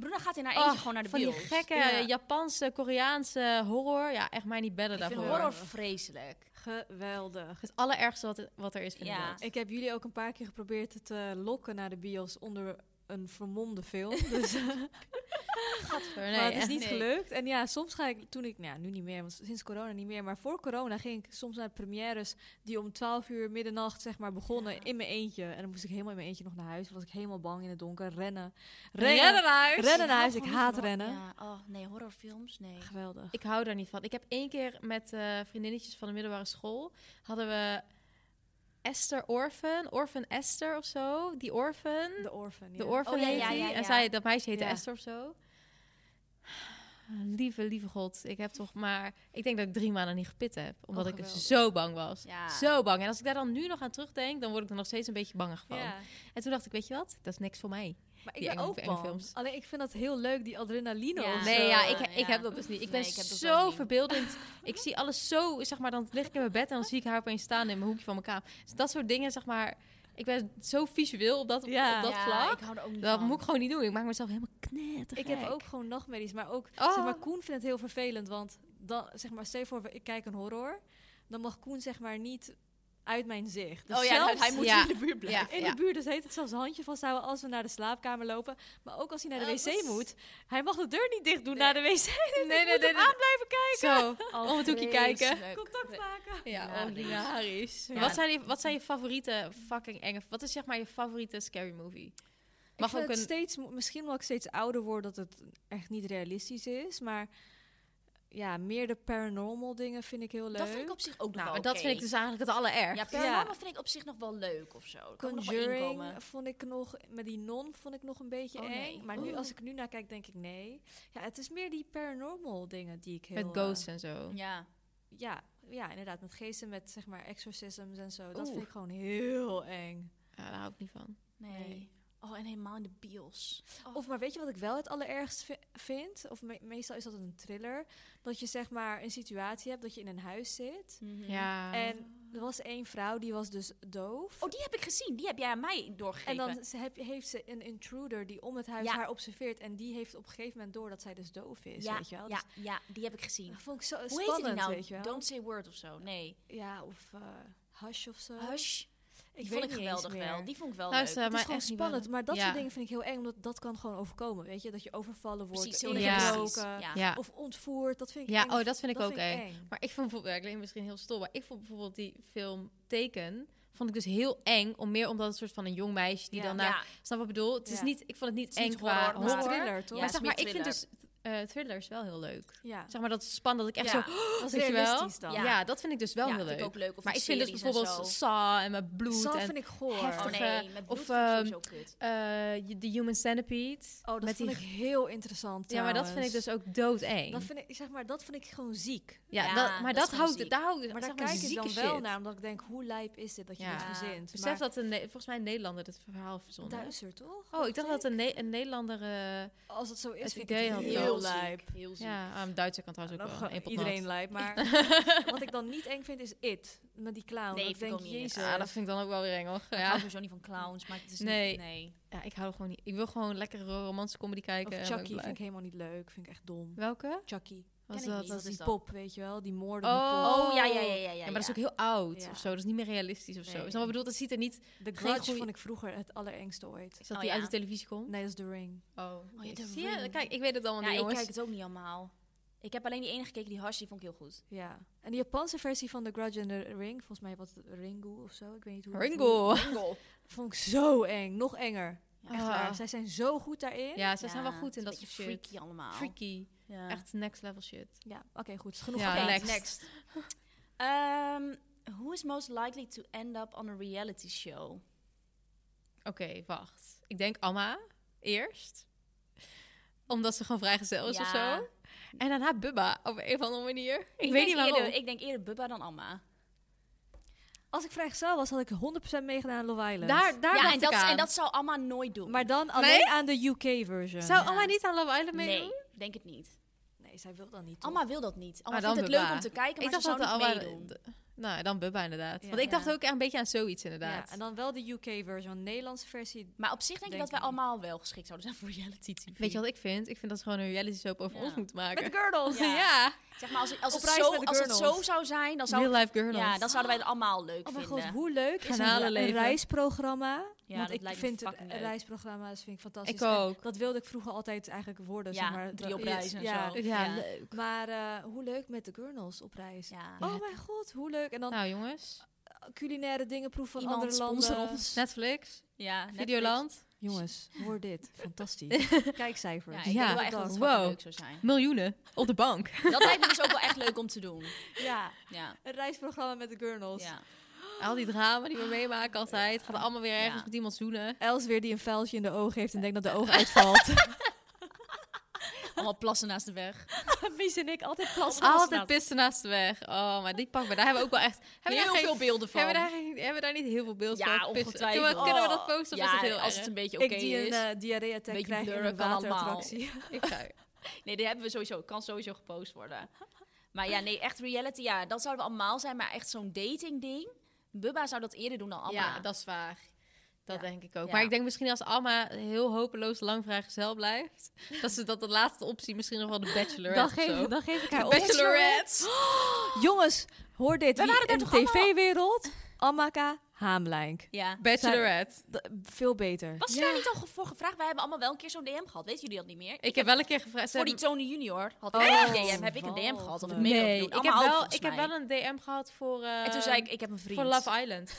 S3: Bruna gaat in haar
S2: Och,
S3: eentje gewoon naar de
S2: Van die
S3: bios.
S2: gekke
S4: Ja.
S2: Japanse, Koreaanse horror. Ja, echt mij niet bellen
S3: Ik vind
S2: daarvoor.
S3: horror vreselijk.
S4: Geweldig.
S2: Het allerergste wat, wat er is, vind
S3: Ja.
S2: ik dat.
S4: Ik heb jullie ook een paar keer geprobeerd te lokken naar de bios onder een vermomde film. Dus,
S2: Gadver,
S4: maar
S2: nee,
S4: het is
S2: echt.
S4: niet
S3: nee.
S4: gelukt. En ja, soms ga ik, toen ik, nou ja, nu niet meer, want sinds corona niet meer, maar voor corona ging ik soms naar premières die om 12 uur middernacht zeg maar begonnen in mijn eentje. En dan moest ik helemaal in mijn eentje nog naar huis. Dan was ik helemaal bang in het donker. Rennen. Rennen,
S2: Rennen naar huis.
S4: Rennen naar huis.
S3: hou
S4: Ik
S3: gewoon
S4: haat
S3: niet van-
S4: rennen.
S3: Ja, oh, nee, horrorfilms, nee.
S4: Geweldig.
S2: Ik hou daar niet van. Ik heb één keer met eh, vriendinnetjes van de middelbare school hadden we Esther Orphan, Orphan Esther of zo, die Orphan,
S4: De Orphan.
S2: de
S4: ja.
S2: Orphan
S3: Oh, ja,
S2: heet
S3: ja,
S2: die.
S3: ja, ja.
S2: En zij dat meisje heette
S4: Ja.
S2: Esther of zo. Lieve, lieve God, ik heb toch maar. Ik denk dat ik drie maanden niet gepit heb, omdat
S4: Oh,
S2: ik
S4: geweldig.
S2: zo bang was,
S3: Ja.
S2: zo bang. En als ik daar dan nu nog aan terugdenk, dan word ik er nog steeds een beetje bang van.
S4: Ja.
S2: En toen dacht ik, weet je wat? Dat is niks voor mij.
S4: Maar ik
S2: Die
S4: ben
S2: enge-
S4: ook
S2: enge
S4: bang.
S2: films.
S4: Alleen ik vind dat heel leuk, die adrenaline
S3: Ja.
S4: of zo.
S2: Nee, ja, ik, ik
S3: Ah. ja.
S2: heb dat dus niet. Ik ben
S3: Nee, ik heb dat ook
S2: zo
S3: niet.
S2: verbeeldend. Ik zie alles zo, zeg maar, dan lig ik in mijn bed en dan zie ik haar opeens staan in mijn hoekje van mijn kamer. Dus dat soort dingen, zeg maar. Ik ben zo visueel op dat,
S4: Ja.
S2: op dat
S3: ja,
S2: vlak.
S3: ik hou er ook niet
S2: Dat
S3: van.
S2: moet ik gewoon niet doen. Ik maak mezelf helemaal knettergek.
S4: Ik heb ook gewoon nachtmerries, maar ook
S2: Oh.
S4: zeg maar Koen vindt het heel vervelend, want dan zeg maar stel je voor ik kijk een horror, dan mag Koen zeg maar niet uit mijn zicht. Dus
S3: Oh ja,
S4: zelfs
S3: hij moet
S2: Ja.
S3: in de buurt blijven.
S2: Ja,
S4: in
S2: ja.
S4: de buurt, dus heet het zelfs handje vasthouden als we naar de slaapkamer lopen, maar ook als hij naar de
S3: Oh,
S4: wc
S3: dat is-
S4: moet. Hij mag de deur niet dicht doen
S3: Nee.
S4: naar de wc. Nee, nee, nee, aan blijven kijken.
S2: Zo,
S3: Oh,
S2: om het hoekje kijken.
S3: vreselijk.
S4: Contact maken.
S2: Ja, oh,
S3: Hilarisch.
S2: hilarisch.
S3: Ja.
S2: Wat, zijn je, wat zijn je favoriete fucking enge... Wat is zeg maar je favoriete scary movie? Mag
S4: ik vind
S2: ook
S4: het
S2: een-
S4: steeds, misschien wel ik steeds ouder word dat het echt niet realistisch is, maar ja, meer de paranormal dingen vind ik heel leuk.
S3: Dat vind ik op zich ook nog
S2: Nou,
S3: wel
S2: dat vind ik
S3: oké.
S2: dus eigenlijk het allerergst.
S3: Ja, paranormal vind ik op zich nog wel leuk of zo. Daar kan ik nog wel inkomen.
S4: Conjuring vond ik nog, met die non vond ik nog een beetje
S3: Oh,
S4: eng.
S3: nee.
S4: Maar nu,
S3: Oeh.
S4: als ik nu naar kijk, denk ik nee. Ja, het is meer die paranormal dingen die ik heel...
S2: Met
S4: eh,
S2: ghosts en zo.
S3: Ja.
S4: ja, ja, inderdaad. Met geesten, met zeg maar exorcisms en zo. Dat vind
S2: Oeh.
S4: ik gewoon heel eng.
S2: Ja, daar hou ik niet van.
S3: Nee.
S4: Nee.
S3: Oh, en helemaal in de bios. Oh.
S4: Of maar weet je wat ik wel het allerergst vi- vind? Of me- meestal is dat een thriller. Dat je zeg maar een situatie hebt dat je in een huis zit.
S3: Mhm. Ah.
S2: Ja.
S4: En er was één vrouw die was dus doof.
S3: Oh, die heb ik gezien. Die heb jij aan mij doorgegeven.
S4: En dan ze heb- heeft ze een intruder die om het huis
S3: Ja.
S4: haar observeert. En die heeft op een gegeven moment door dat zij dus doof is,
S3: ja,
S4: weet je wel.
S3: Ja,
S4: Dus
S3: ja, die heb ik gezien.
S4: dat vond ik zo
S3: Hoe heet
S4: spannend,
S3: die nou?
S4: weet je wel.
S3: Don't say word of zo. Nee.
S4: Ja, of eh Hush of zo.
S3: Hush.
S4: Ik
S3: Die vond ik
S4: weet niet eens
S3: geweldig wel.
S4: meer.
S3: Die vond ik wel
S2: Luister,
S3: leuk.
S4: Het is
S2: maar
S4: gewoon
S2: echt niet
S4: spannend,
S2: bellen.
S4: maar dat
S2: Ja.
S4: soort dingen vind ik heel eng, omdat dat kan gewoon overkomen, weet je? Dat je overvallen wordt,
S3: Precies, heel
S4: ingebroken,
S3: realistisch. Ja.
S2: Ja.
S4: of ontvoerd, dat vind ik
S2: Ja,
S4: eng.
S2: oh, dat vind ik ook
S4: eng.
S2: eng. Maar ik vond bijvoorbeeld, ja, ik leek misschien heel stom, maar ik vond bijvoorbeeld die film Teken, vond ik dus heel eng, om meer omdat het soort van een jong meisje die
S4: Ja.
S2: dan naar,
S3: Ja.
S2: snap wat ik bedoel? Het is
S4: Ja.
S2: niet, ik vond het niet
S3: is
S2: eng
S3: niet
S2: qua
S3: horror,
S4: Maar
S2: horror.
S4: thriller, toch?
S2: maar
S3: Ja, het
S2: zeg
S3: is
S2: maar,
S3: meer
S2: ik vind dus eh, thrillers wel heel leuk.
S4: Ja.
S2: Zeg maar dat is spannend, dat ik echt zo... oh,
S4: Als
S2: weet je wel?
S4: realistisch dan.
S2: Ja. dat vind ik dus wel
S3: ja,
S2: heel
S3: vind
S2: leuk.
S3: ik ook leuk. Of
S2: maar
S3: met
S2: ik vind dus
S3: series en
S2: bijvoorbeeld
S3: zo.
S2: Saw en met bloed
S4: Zal
S2: en
S4: vind ik goor.
S2: heftig.
S3: Oh
S4: Oh,
S3: nee, met
S2: of,
S3: bloed vind
S2: ehm,
S3: ik sowieso kut.
S2: eh, The Human Centipede.
S4: dat
S2: Met die
S4: vond ik heel interessant
S2: Ja, maar dat vind ik dus ook doodeng.
S4: Dat vind ik, zeg maar, dat vind ik gewoon ziek.
S2: ja,
S3: Ja,
S2: dat, maar
S3: dat
S2: dat
S3: is gewoon ziek.
S2: houdt, daar houdt
S4: Maar
S2: zeg
S4: daar kijk ik
S2: zieke
S4: dan wel
S2: shit.
S4: naar, omdat ik denk, hoe lijp is dit dat je
S2: Ja.
S4: dit verzint?
S2: Besef dat een, Ne- volgens mij een Nederlander het verhaal
S4: maar,
S2: verzonnen. heeft.
S4: Duitser, toch?
S2: Oh, ik dacht dat een, Ne- een Nederlander... eh,
S4: Als het zo is,
S2: Het
S4: vind
S2: idee
S4: ik
S2: had
S4: het
S2: ik
S4: heel
S2: ook.
S4: lijp.
S3: Heel ziek.
S2: ja, aan Duitse kan
S4: Nou,
S2: trouwens
S4: dan
S2: ook wel.
S4: gewoon
S2: een pot
S4: iedereen
S2: nat.
S4: lijp, maar wat ik dan niet eng vind is It, met die clown.
S3: Nee,
S4: Dat
S3: vind
S4: ik
S3: ik
S4: denk,
S3: ook niet.
S4: jezus.
S2: Ja, dat vind ik Ah, dan ook wel weer eng, hoor.
S3: Ik hou
S2: Ja.
S3: sowieso niet van clowns, maar het is
S2: Nee.
S3: niet... Nee.
S2: ja, ik hou gewoon niet... Ik wil gewoon lekker romantische comedy kijken. en
S4: Of
S2: dan ben
S4: Chucky
S2: ik
S4: vind ik
S2: blij.
S4: helemaal niet leuk, vind ik echt dom.
S2: Welke?
S4: Chucky,
S2: Was
S3: ik
S2: dat?
S3: niet.
S4: dat
S3: Wat
S4: is
S3: is dat?
S4: die pop, weet je wel, die moorden.
S2: Oh,
S3: Oh, ja, ja, ja, ja, ja.
S2: Ja, maar dat is ook heel oud
S4: Ja.
S2: of zo. Dat is niet meer realistisch of zo.
S3: Nee.
S2: Is dat wat ik bedoel? Dat ziet er niet...
S4: The
S2: Geen
S4: Grudge
S2: goeie-
S4: vond ik vroeger het allerengste ooit.
S2: Is dat
S3: Oh,
S2: die
S3: ja.
S2: uit de televisie komt?
S4: Nee, dat is The Ring.
S2: Oh,
S3: ja, de
S2: zie je?
S3: Ring.
S2: Kijk, ik weet het allemaal
S3: Ja,
S2: niet,
S3: ik
S2: jongens.
S3: kijk het ook niet allemaal. Ik heb alleen die ene gekeken, die Hashi, die vond ik heel goed.
S4: Ja. En de Japanse versie van The Grudge en The Ring, volgens mij was het Ringu of zo, ik weet niet hoe. het-
S2: Ringo.
S4: Vond ik zo eng, nog enger. Echt
S2: Ah.
S4: waar. Zij zijn zo goed daarin.
S2: Ja, ze zijn wel
S3: Ja,
S2: goed in
S3: het
S2: dat
S3: is
S2: soort
S3: een beetje
S2: shit.
S3: freaky allemaal.
S2: Freaky.
S3: Ja.
S2: Echt next level shit.
S4: Ja, oké, goed. Is genoeg
S2: Ja,
S4: gepraat.
S2: next.
S3: Ehm, who is most likely to end up on a reality show?
S2: Oké, wacht. Ik denk Amma eerst. Omdat ze gewoon vrijgezel is of
S3: Ja.
S2: zo. En daarna Bubba op een of andere manier. Ik,
S3: Ik
S2: weet
S3: denk
S2: niet waarom.
S3: Eerder, ik denk eerder Bubba dan Amma.
S4: Als ik vrijgezel was, had ik 100% meegedaan aan Love Island.
S2: daar daar
S3: ja,
S2: dacht
S3: en
S2: ik
S3: dat,
S2: aan.
S3: en dat zou Amma nooit doen.
S4: Maar dan alleen aan de UK-version.
S2: Zou
S3: Ja.
S2: Amma niet aan Love Island meedoen?
S3: nee, denk het niet.
S4: Nee, zij wil dan niet.
S3: Amma wil dat niet. Amma
S2: Maar
S3: vindt
S2: dan
S3: het leuk
S2: Bubba.
S3: om te kijken, maar
S2: ik dacht
S3: ze zou
S2: dat
S3: niet
S2: Amma...
S3: meedoen.
S2: d- Nou, dan Bubba inderdaad.
S4: Ja.
S2: Want ik dacht
S3: Ja.
S2: ook een beetje aan zoiets inderdaad.
S4: Ja, en dan wel de UK-version. Nederlandse versie.
S3: Maar op zich denk, ik
S4: Denk
S3: dat wij
S4: ik niet.
S3: allemaal wel geschikt zouden zijn voor reality TV.
S2: Weet je wat ik vind? Ik vind dat ze gewoon een reality soap over
S3: Ja.
S2: ons moet maken.
S4: Met de girdels.
S2: ja.
S3: Ja. Zeg maar, als, als,
S4: Op
S3: het,
S4: reis
S3: zo,
S4: met de
S3: als het
S4: Gurnels.
S3: zo zou zijn, dan,
S2: Real
S3: zou,
S2: life girls.
S3: ja, dan zouden wij het allemaal leuk
S4: Oh mijn god,
S3: vinden.
S4: hoe leuk is een,
S2: Garnalenleven.
S4: een reisprogramma?
S3: Ja,
S4: Want
S3: dat
S4: ik
S3: lijkt me
S4: vind
S3: fucking leuk.
S4: reisprogramma's vind ik fantastisch.
S2: Ik
S4: En
S2: ook.
S4: Dat wilde ik vroeger altijd eigenlijk worden.
S3: Ja,
S4: zeg maar.
S3: drie op
S4: Dat-
S3: reis en
S4: ja.
S3: zo.
S2: Ja,
S3: Ja.
S2: leuk.
S4: Maar eh, hoe leuk met de girls op reis.
S3: Ja.
S4: Oh mijn god, hoe leuk. En dan
S2: Nou jongens,
S4: culinaire dingen proeven van
S3: Iemand
S4: andere
S3: sponsor
S4: landen.
S3: ons.
S2: Netflix,
S3: Ja, Netflix.
S2: Videoland,
S4: Jongens, hoor dit. Fantastisch. Kijkcijfers.
S3: Ja,
S4: Ja,
S3: ik
S2: Ja.
S3: denk wel echt dat het
S2: Wow.
S3: fucking leuk zou zijn.
S2: miljoenen op de bank.
S3: Dat lijkt me dus ook wel echt leuk om te doen. Ja.
S4: Een reisprogramma met de girls.
S3: ja.
S2: Al die drama die we meemaken altijd. Gaat allemaal weer ergens
S3: Ja.
S2: met iemand zoenen.
S4: Els weer die een vuiltje in de oog heeft en denkt dat de oog uitvalt.
S3: Allemaal plassen naast de weg.
S4: Mies en ik altijd plassen.
S2: Altijd pissen naast de weg. Oh, maar die pakken we. Daar hebben we ook wel echt... Hebben we
S3: Heel
S2: daar geen-
S3: veel beelden van.
S2: Hebben we, daar, geen- hebben we daar niet heel veel beelden
S3: Ja,
S2: van? Pissen.
S3: ongetwijfeld.
S2: Kunnen we, kunnen we
S4: Oh.
S2: dat posten of is het heel
S3: als
S2: erg?
S3: het een beetje oké
S4: Ik die een
S3: is.
S4: eh diarree-attack
S3: Beetje
S4: krijg in
S3: blurren
S4: een
S3: kan allemaal.
S4: waterattractie.
S2: Ik zou...
S3: Nee, die hebben we sowieso. Kan sowieso gepost worden. Maar ja, nee, echt reality. Ja, dat zouden we allemaal zijn. Maar echt zo'n dating ding. Bubba zou dat eerder doen dan Amma.
S2: Ja, dat is waar. Dat
S3: Ja.
S2: denk ik ook.
S3: Ja.
S2: Maar ik denk misschien als Alma heel hopeloos lang vrijgezel blijft... dat ze dat de laatste optie misschien nog wel de bachelorette of zo.
S4: dan geef ik haar
S2: Bachelorette.
S4: Jongens, hoor dit.
S3: We
S4: Wie
S3: waren daar
S4: in de
S3: toch allemaal-
S4: tv-wereld? Amaka Haamlijn.
S3: Ja.
S2: Bachelorette.
S4: D- Veel beter.
S3: Was je daar niet al ge- voor gevraagd? Wij hebben allemaal wel een keer zo'n DM gehad. Weten jullie dat niet meer?
S2: Ik heb wel een keer gevraagd... ze
S3: Voor die
S2: hebben-
S3: Tony Junior had
S4: Oh,
S3: ik een DM. Heb ik een DM
S4: wat
S3: gehad? Of ik
S4: leuk.
S3: mee
S2: Nee,
S3: wilde doen?
S2: ik heb,
S3: Allemaal
S2: wel,
S3: volgens
S2: ik heb
S3: mij.
S2: wel een DM gehad voor... eh,
S3: En toen zei ik, ik heb een vriend.
S2: Voor Love Island.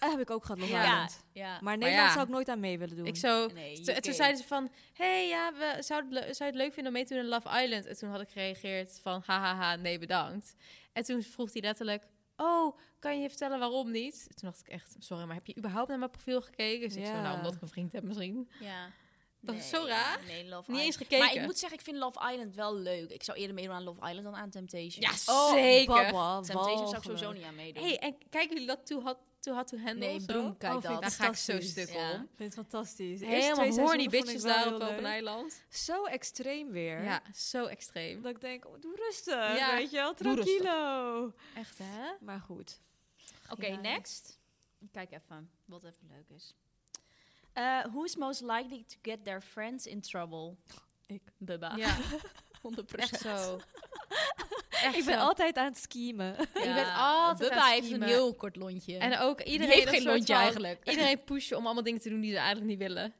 S4: Eh, heb ik ook gehad, Love
S2: Ja.
S3: Ja,
S4: Island.
S3: ja.
S4: Maar Nederland
S2: ja.
S4: zou ik nooit aan mee willen doen.
S2: Ik zo...
S3: Nee,
S2: Toen- en toen
S3: UK.
S2: zeiden ze van, hey, ja, we, zou, het le- zou je het leuk vinden om mee te doen in Love Island? En toen had ik gereageerd van, hahaha, nee, bedankt. En toen vroeg hij letterlijk, oh, kan je vertellen waarom niet? Toen dacht ik echt, sorry, maar heb je überhaupt naar mijn profiel gekeken? Dus ik
S4: Ja.
S2: zo, nou, omdat ik een vriend heb misschien.
S3: Ja.
S2: Dat is zo raar.
S3: Nee, Love
S2: Niet
S3: Island.
S2: eens gekeken.
S3: Maar ik moet zeggen, ik vind Love Island wel leuk. Ik zou eerder meedoen aan Love Island dan aan Temptation.
S2: Ja,
S4: Oh,
S2: zeker.
S4: Baba,
S3: Temptation zou ik sowieso
S4: walgelijk.
S3: niet aan meedoen.
S2: hey, en kijken jullie dat Too Hot Too, hot to Handle
S3: nee,
S2: of zo?
S3: Broem, kijk
S4: Oh, vind
S3: dat.
S4: ik
S2: Daar ga ik zo
S4: fantastisch.
S2: stuk
S3: Ja.
S2: om.
S4: Ik vind het fantastisch. De eerste twee
S2: Helemaal horny
S4: seizoenen vond
S2: bitches
S4: ik wel
S2: daar op
S4: heel leuk.
S2: Open Eiland.
S4: Zo extreem weer.
S2: Ja, zo extreem.
S4: Dat ik denk, oh, doe rustig.
S2: Ja,
S4: Weet je wel,
S2: doe rustig.
S4: tranquilo.
S2: Echt, hè?
S4: Maar goed.
S3: Oké,
S4: Ja.
S3: next. Kijk even wat even leuk is. Eh who is most likely to get their friends in trouble?
S4: Ik.
S3: Bubba.
S2: Ja,
S3: 100%.
S2: echt zo. Echt
S4: Ik ben
S2: zo.
S4: altijd aan het schemen.
S2: Je bent altijd
S3: Bubba
S2: aan het
S3: heeft een
S2: schiemen.
S3: heel kort lontje.
S2: En ook iedereen
S3: heeft
S2: een
S3: geen
S2: soort
S3: lontje
S2: van-
S3: eigenlijk.
S2: Iedereen pushen om allemaal dingen te doen die ze eigenlijk niet willen.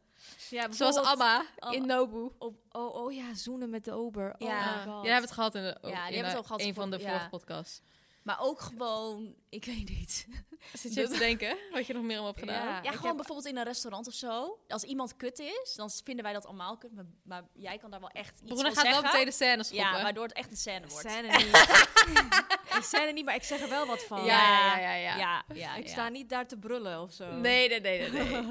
S4: Ja,
S2: Zoals Abba
S4: Abba.
S2: in Nobu.
S4: Op, oh, oh ja, zoenen met de ober.
S3: Ja.
S4: Oh my
S2: Jij
S4: god.
S2: hebt het gehad in, de,
S3: die
S2: in
S3: hebben we
S2: eh,
S3: ook gehad
S2: een
S3: voor-
S2: van de
S3: ja.
S2: vorige podcasts.
S3: Maar ook gewoon, ik weet niet.
S2: Zit je even te denken wat je nog meer allemaal hebt gedaan?
S4: Ja.
S3: Ja,
S4: ik
S3: gewoon bijvoorbeeld in een restaurant of zo. Als iemand kut is, dan vinden wij dat allemaal kut. Maar, maar jij kan daar wel echt iets
S2: Bruna
S3: van
S2: gaat wel
S3: zeggen.
S2: meteen de scène schoppen.
S3: ja, waardoor het echt een scène wordt.
S4: Zijn er niet. Ik zijn er niet, maar ik zeg er wel wat van.
S2: Ja, ja, ja, ja.
S3: ja, ja,
S4: Ik
S3: ja.
S4: sta niet daar te brullen of zo.
S2: Nee, nee, nee, nee, nee.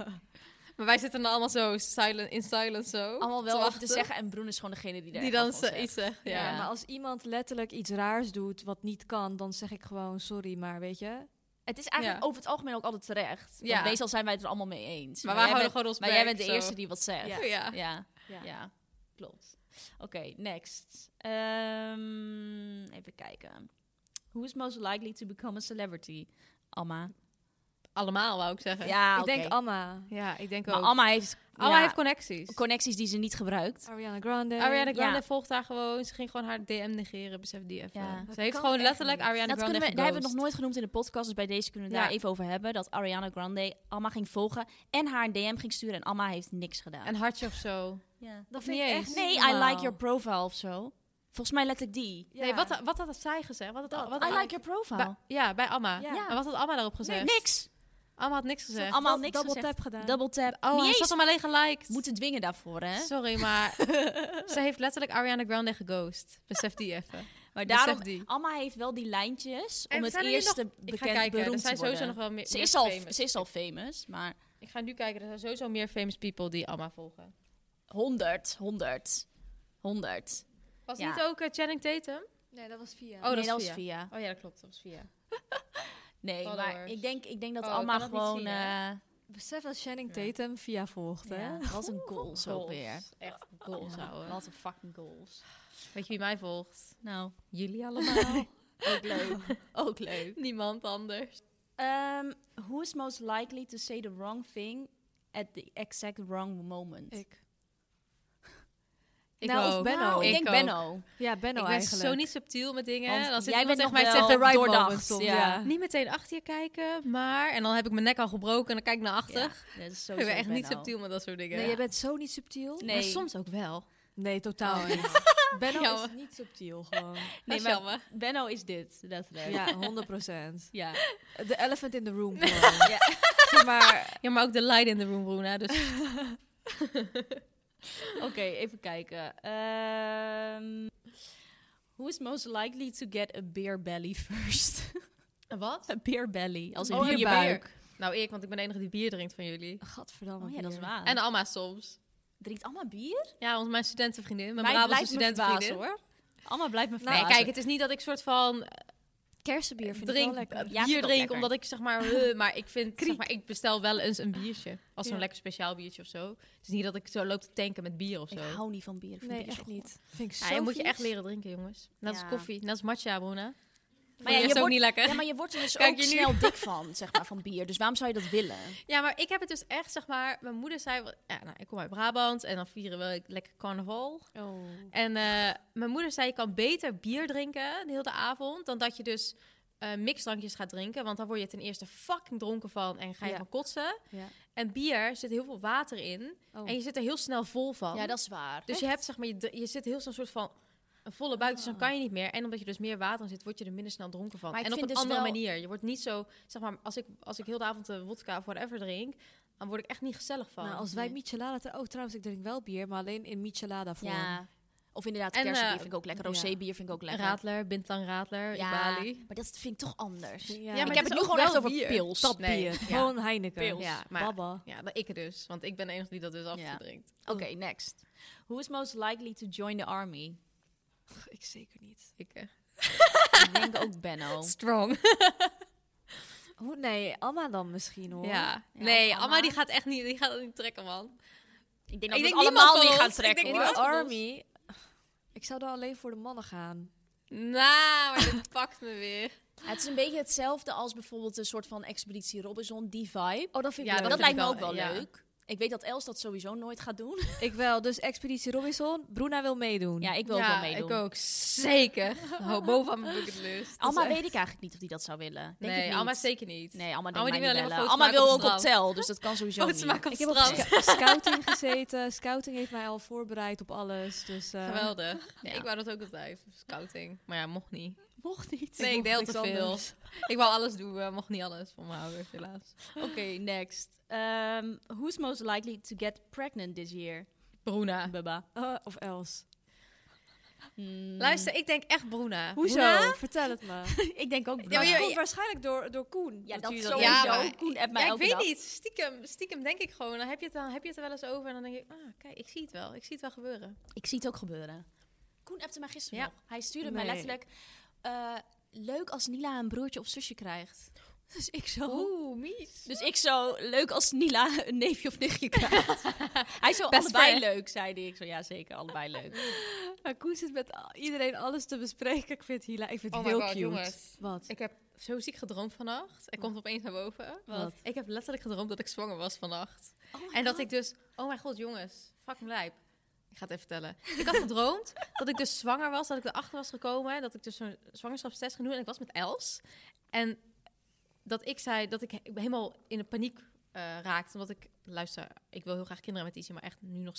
S2: maar wij zitten dan allemaal zo silent, in silence zo.
S3: allemaal wel
S2: te
S3: over te
S2: wachten.
S3: zeggen. En Broen is gewoon degene die daar
S2: Die
S3: echt
S2: dan
S3: wat van
S2: ze- iets zegt, ja.
S4: Ja, maar als iemand letterlijk iets raars doet wat niet kan, dan zeg ik gewoon sorry, maar weet je.
S3: Het is eigenlijk
S2: Ja.
S3: over het algemeen ook altijd terecht. Want
S2: Ja.
S3: meestal zijn wij het er allemaal mee eens.
S2: Maar wij
S3: jij
S2: houden
S3: bent-
S2: gewoon ons
S3: Maar jij
S2: bek,
S3: bent de
S2: zo.
S3: eerste die wat zegt.
S4: Ja.
S2: Oh, ja.
S3: Ja,
S4: Ja.
S3: ja, klopt. Oké, next. Ehm, even kijken. Who is most likely to become a celebrity? Alma.
S2: Allemaal, wou ik zeggen.
S3: Ja,
S4: ik
S3: Ah, oké.
S4: denk Anna,
S2: Ja, ik denk
S3: Maar
S2: ook.
S3: Alma heeft,
S2: Alma
S3: ja,
S2: heeft connecties.
S3: connecties die ze niet gebruikt.
S4: Ariana Grande.
S2: Ariana Grande
S3: Eh, Ja.
S2: volgt haar gewoon. Ze ging gewoon haar DM negeren, besef die even.
S3: Ja.
S2: Ze heeft
S4: kan
S2: gewoon
S4: echt
S2: letterlijk
S4: niet.
S2: Ariana
S3: Dat
S2: Grande
S3: kunnen we, daar hebben we
S2: geghost.
S3: nog nooit genoemd in de podcast, dus bij deze kunnen we
S2: Ja.
S3: daar even over hebben. Dat Ariana Grande Alma ging volgen en haar een DM ging sturen en Alma heeft niks gedaan.
S2: Een hartje of zo.
S3: ja.
S4: Dat
S2: Of
S4: vind
S2: niet
S4: ik
S2: eens.
S4: echt niet
S3: Nee, I
S4: normaal.
S3: like your profile of zo. Volgens mij let ik die.
S4: Ja.
S2: Nee, wat, wat had zij gezegd? Wat had, wat
S3: I
S2: had-
S3: like your profile.
S2: Bij- ja, bij Amma.
S4: Ja.
S2: En wat had Amma daarop
S3: Nee,
S2: gezegd?
S3: niks.
S2: Amma had niks gezegd.
S3: Amma had
S4: Dub-
S3: niks
S4: double
S3: gezegd.
S4: tap gedaan.
S3: Double tap.
S2: Oh,
S3: Niet
S2: hij
S3: eens
S2: zat hem alleen geliked.
S3: moeten dwingen daarvoor, hè?
S2: Sorry, maar ze heeft letterlijk Ariana Grande geghost. Besef die even.
S3: maar
S2: besef
S3: daarom,
S2: die.
S3: Alma heeft wel die lijntjes om
S2: En
S3: het
S2: zijn er nu
S3: eerste
S2: nog- Ik
S3: bekend
S2: ga kijken, er
S3: beroemd
S2: zijn
S3: te worden.
S2: sowieso nog wel meer,
S3: ze,
S2: meer
S3: is al,
S2: famous.
S3: ze is al famous, maar
S2: Ik ga nu kijken, er zijn sowieso meer famous people die Amma volgen.
S3: 100, 100, 100.
S2: Was
S3: Ja.
S2: niet ook eh, Channing Tatum?
S4: Nee, dat was via.
S2: Oh,
S3: nee,
S2: dat
S3: dat
S2: is
S3: was via.
S2: Oh ja, dat klopt. Dat was via.
S3: Nee, maar
S2: Followers.
S3: ik denk, ik denk dat
S2: Oh, ik
S3: Alma
S2: kan dat niet
S3: gewoon...
S2: zien, hè?
S3: eh,
S4: Besef dat Channing Tatum via volgt, hè?
S3: ja, wat een goals ook weer.
S2: Echt goals, ouwe.
S3: Wat een fucking goals.
S2: Weet je wie mij volgt?
S3: Nou,
S2: Jullie allemaal.
S3: ook leuk. ook leuk.
S2: Niemand anders.
S3: Ehm, who is most likely to say the wrong thing at the exact wrong moment?
S4: Ik.
S2: Ik
S4: Nou, of
S2: ook.
S4: Benno.
S3: Nou, ik,
S4: Ik
S3: denk
S2: ook.
S3: Benno.
S4: Ja, Benno
S2: ik ben
S4: eigenlijk.
S2: zo niet subtiel met dingen.
S3: Want
S2: dan zit
S3: jij
S2: iemand
S3: bent
S2: tegen
S3: nog
S2: mij
S3: wel
S2: zegt the right
S3: doordacht,
S2: moment soms.
S3: ja.
S2: Ja. Niet meteen achter je kijken, maar... En dan heb ik mijn nek al gebroken en dan kijk ik naar achter.
S3: Ja, dat is
S2: ik
S3: sowieso
S2: ben echt niet
S3: Benno.
S2: subtiel met dat soort dingen.
S4: Nee, jij bent zo niet subtiel.
S3: Nee.
S2: Maar soms ook wel.
S4: Nee,
S2: Oh.
S4: totaal niet. Benno
S2: Jammer.
S4: is niet subtiel, gewoon.
S3: Nee,
S2: is
S3: maar
S2: jammer.
S3: Benno is dit, letterlijk.
S4: Ja, 100 procent.
S3: Ja.
S4: De elephant in the room,
S2: Oh,
S4: gewoon.
S3: Ja.
S4: Zeg maar...
S2: Ja, maar ook de light in the room, Bruna. Dus
S3: Oké, even kijken. Ehm, who is most likely to get a beer belly first?
S2: Wat?
S3: a beer belly, als
S2: Dus
S3: in
S4: Oh,
S3: je
S4: een
S3: buik.
S2: Nou, ik, want ik ben de enige die bier drinkt van jullie.
S4: Gadverdamme.
S3: Oh ja, dat is
S4: hier.
S3: waar.
S2: En Alma soms.
S3: drinkt allemaal bier?
S2: Ja, want mijn studentenvriendin, mijn
S3: Mij
S2: Brabantse
S3: blijft me
S2: studentenvriendin.
S3: verbazen, hoor. Allemaal blijft me
S2: Nee,
S3: verbazen.
S2: kijk, het is niet dat ik soort van eh,
S4: Kersenbier vind ik
S2: drink,
S4: wel lekker.
S3: Ja, vind ik
S2: bier
S3: ook
S2: drink,
S3: lekker.
S2: omdat ik zeg maar, eh, maar ik vind, zeg maar, ik bestel wel eens een biertje. Als zo'n
S4: Ja.
S2: lekker speciaal biertje of zo. Het is niet dat ik zo loop te tanken met bier of zo.
S3: Ik hou niet van bier. Ik vind
S4: Nee,
S3: bier zo
S4: echt
S3: goor.
S4: niet. Vind ik
S2: Ja,
S4: zo
S2: je moet je
S4: vies.
S2: echt leren drinken, jongens. Net
S3: Ja.
S2: als koffie, net als matcha, Bruna.
S3: Maar
S2: Maar
S3: ja,
S2: ja,
S3: je
S2: is ook
S3: wordt-
S2: niet lekker.
S3: Ja, maar je wordt er dus
S2: Kijk
S3: ook
S2: je nu?
S3: snel dik van, zeg maar, van bier. Dus waarom zou je dat willen?
S2: Ja, maar ik heb het dus echt, zeg maar, mijn moeder zei, wel- ja, nou, ik kom uit Brabant en dan vieren we lekker carnaval.
S4: Oh.
S2: En eh, mijn moeder zei, je kan beter bier drinken de hele avond... dan dat je dus eh, mixdrankjes gaat drinken. Want dan word je ten eerste fucking dronken van en ga je
S4: Ja.
S2: van kotsen.
S4: Ja.
S2: En bier zit heel veel water in
S4: Oh.
S2: en je zit er heel snel vol van.
S3: Ja, dat is waar.
S2: dus je, hebt, zeg maar, je, dr- je zit heel snel een soort van een volle buik, dus dan kan je niet meer. En omdat je dus meer water in zit, word je er minder snel dronken van.
S3: Ah. Maar ik
S2: en op een
S3: vind dus
S2: andere
S3: wel-
S2: manier. Je wordt niet zo, zeg maar, als ik, als ik heel de avond eh, wodka of whatever drink... dan word ik echt niet gezellig van.
S4: Nou, als wij michelada... te- Oh, trouwens, ik drink wel bier, maar alleen in michelada vorm.
S3: Ja. Of inderdaad,
S2: En,
S3: kersenbier
S2: eh,
S3: vind ik ook lekker.
S4: ja.
S3: Rosébier vind ik ook lekker.
S2: Radler, Bintang Radler,
S3: ja,
S2: Bali.
S3: maar dat vind ik toch anders.
S4: Ja,
S2: maar
S3: ik
S2: het
S3: heb
S2: is
S3: het nu
S2: ook
S3: gewoon echt
S2: wel
S3: over
S2: bier.
S3: pils.
S4: Dat
S2: Nee,
S4: bier.
S2: ja.
S4: Gewoon Heineken.
S3: Pils.
S2: Ja, maar-
S4: Babba.
S2: Ja, maar ik dus. Want ik ben de enige die dat dus afdrinkt.
S3: Oké, next. Who is most likely to join the army?
S4: Pff, Ik zeker niet.
S2: Ik, eh,
S3: ik denk ook Benno.
S2: Strong.
S4: Hoe? Nee, Anna dan misschien, hoor.
S2: Ja.
S3: Ja,
S2: Nee,
S3: Anna.
S2: Amma die gaat echt niet, die gaat het niet trekken, man.
S3: Ik denk dat
S2: Ik
S3: we
S2: denk
S3: het allemaal
S2: niemand van
S3: niet gaan
S2: ons. Ik
S3: trekken.
S2: denk
S4: Maar
S3: hoor.
S2: niemand.
S4: Army... Ik zou dan alleen voor de mannen gaan.
S2: Nou, maar dit pakt me weer.
S3: Ja, het is een beetje hetzelfde als bijvoorbeeld een soort van Expeditie Robinson, die vibe.
S4: Oh, dat vind ik
S2: Ja,
S4: leuk.
S3: dat
S2: vind ik
S3: lijkt me
S2: wel,
S3: ook wel
S2: ja.
S3: leuk. Ik weet dat Els dat sowieso nooit gaat doen.
S4: Ik wel. Dus Expeditie Robinson. Bruna wil meedoen.
S3: Ja, ik wil
S2: ja,
S3: ook wel meedoen.
S2: ik ook. Zeker. Ho, bovenaan mijn bucketlist.
S3: Alma
S4: echt-
S3: weet ik eigenlijk niet of die dat zou willen. Denk ik
S2: Nee,
S3: niet.
S2: Amma zeker niet. Oh,
S3: Nee, Alma
S2: Alma
S3: denkt mij
S2: die wil
S3: niet
S2: alleen maar
S3: bellen.
S2: foto's
S3: Alma wil
S2: maken
S3: ook
S2: op
S3: op
S2: het
S3: tel, dus dat kan sowieso
S2: Foto's
S3: niet.
S2: maken op
S4: Ik heb op
S2: strand.
S4: sca- scouting gezeten. Scouting heeft mij al voorbereid op alles. Dus, eh,
S2: Geweldig.
S3: Ja.
S2: Ik wou dat ook altijd. Scouting. Maar ja, mocht niet.
S3: mocht niet.
S2: Nee, ik deel
S4: niks
S2: te veel.
S4: anders.
S2: Ik wou alles doen, maar mocht niet alles van mijn ouders, helaas.
S3: Oké, next. Ehm, who's most likely to get pregnant this year?
S2: Bruna.
S3: Baba.
S4: Eh, of Els.
S3: Hmm.
S2: Luister, ik denk echt Bruna.
S4: Hoezo?
S2: Bruna?
S4: Oh, Vertel het me.
S3: ik denk ook
S2: Ja,
S4: Ja,
S2: maar
S4: maar
S2: je-
S4: komt waarschijnlijk door, door Koen.
S3: Ja, dat
S4: jullie
S3: sowieso.
S2: Ja, maar-
S3: Koen appt mij
S2: Ja, ik
S3: elke
S2: weet
S3: dag.
S2: niet. Stiekem, stiekem denk ik gewoon. Dan heb je, het, dan heb je het er wel eens over. En dan denk ik, ah, kijk, ik zie het wel. Ik zie het wel gebeuren.
S3: Ik zie het ook gebeuren. Koen appte mij gisteren
S2: Ja.
S3: nog. Hij stuurde mij
S4: Nee.
S3: letterlijk... eh, leuk als Nila een broertje of zusje krijgt. Dus ik zo...
S2: Oeh, mies.
S3: Dus ik zo... Leuk als Nila een neefje of nichtje krijgt. Hij zo...
S2: Best
S3: allebei
S2: friend.
S3: leuk, zei hij. Ik zo... Ja, zeker. Allebei leuk.
S4: Maar Koen zit met al- iedereen alles te bespreken. Ik vind Hila, ik vind
S2: Oh
S4: het
S2: my
S4: heel
S2: God,
S4: cute.
S2: jongens.
S4: Wat?
S2: Ik heb zo ziek gedroomd vannacht. Ik komt opeens naar boven.
S4: Wat?
S2: Ik heb letterlijk gedroomd dat ik zwanger was vannacht.
S3: Oh my
S2: en dat
S3: God.
S2: ik dus, oh mijn god, jongens, fucking lijp. Ik ga het even vertellen. Ik had gedroomd dat ik dus zwanger was, dat ik erachter was gekomen, dat ik dus zo'n zwangerschapstest ging doen en ik was met Els. En dat ik zei dat ik he- helemaal in de paniek eh, raakte, omdat ik, luister, ik wil heel graag kinderen met Izzy, maar echt nu nog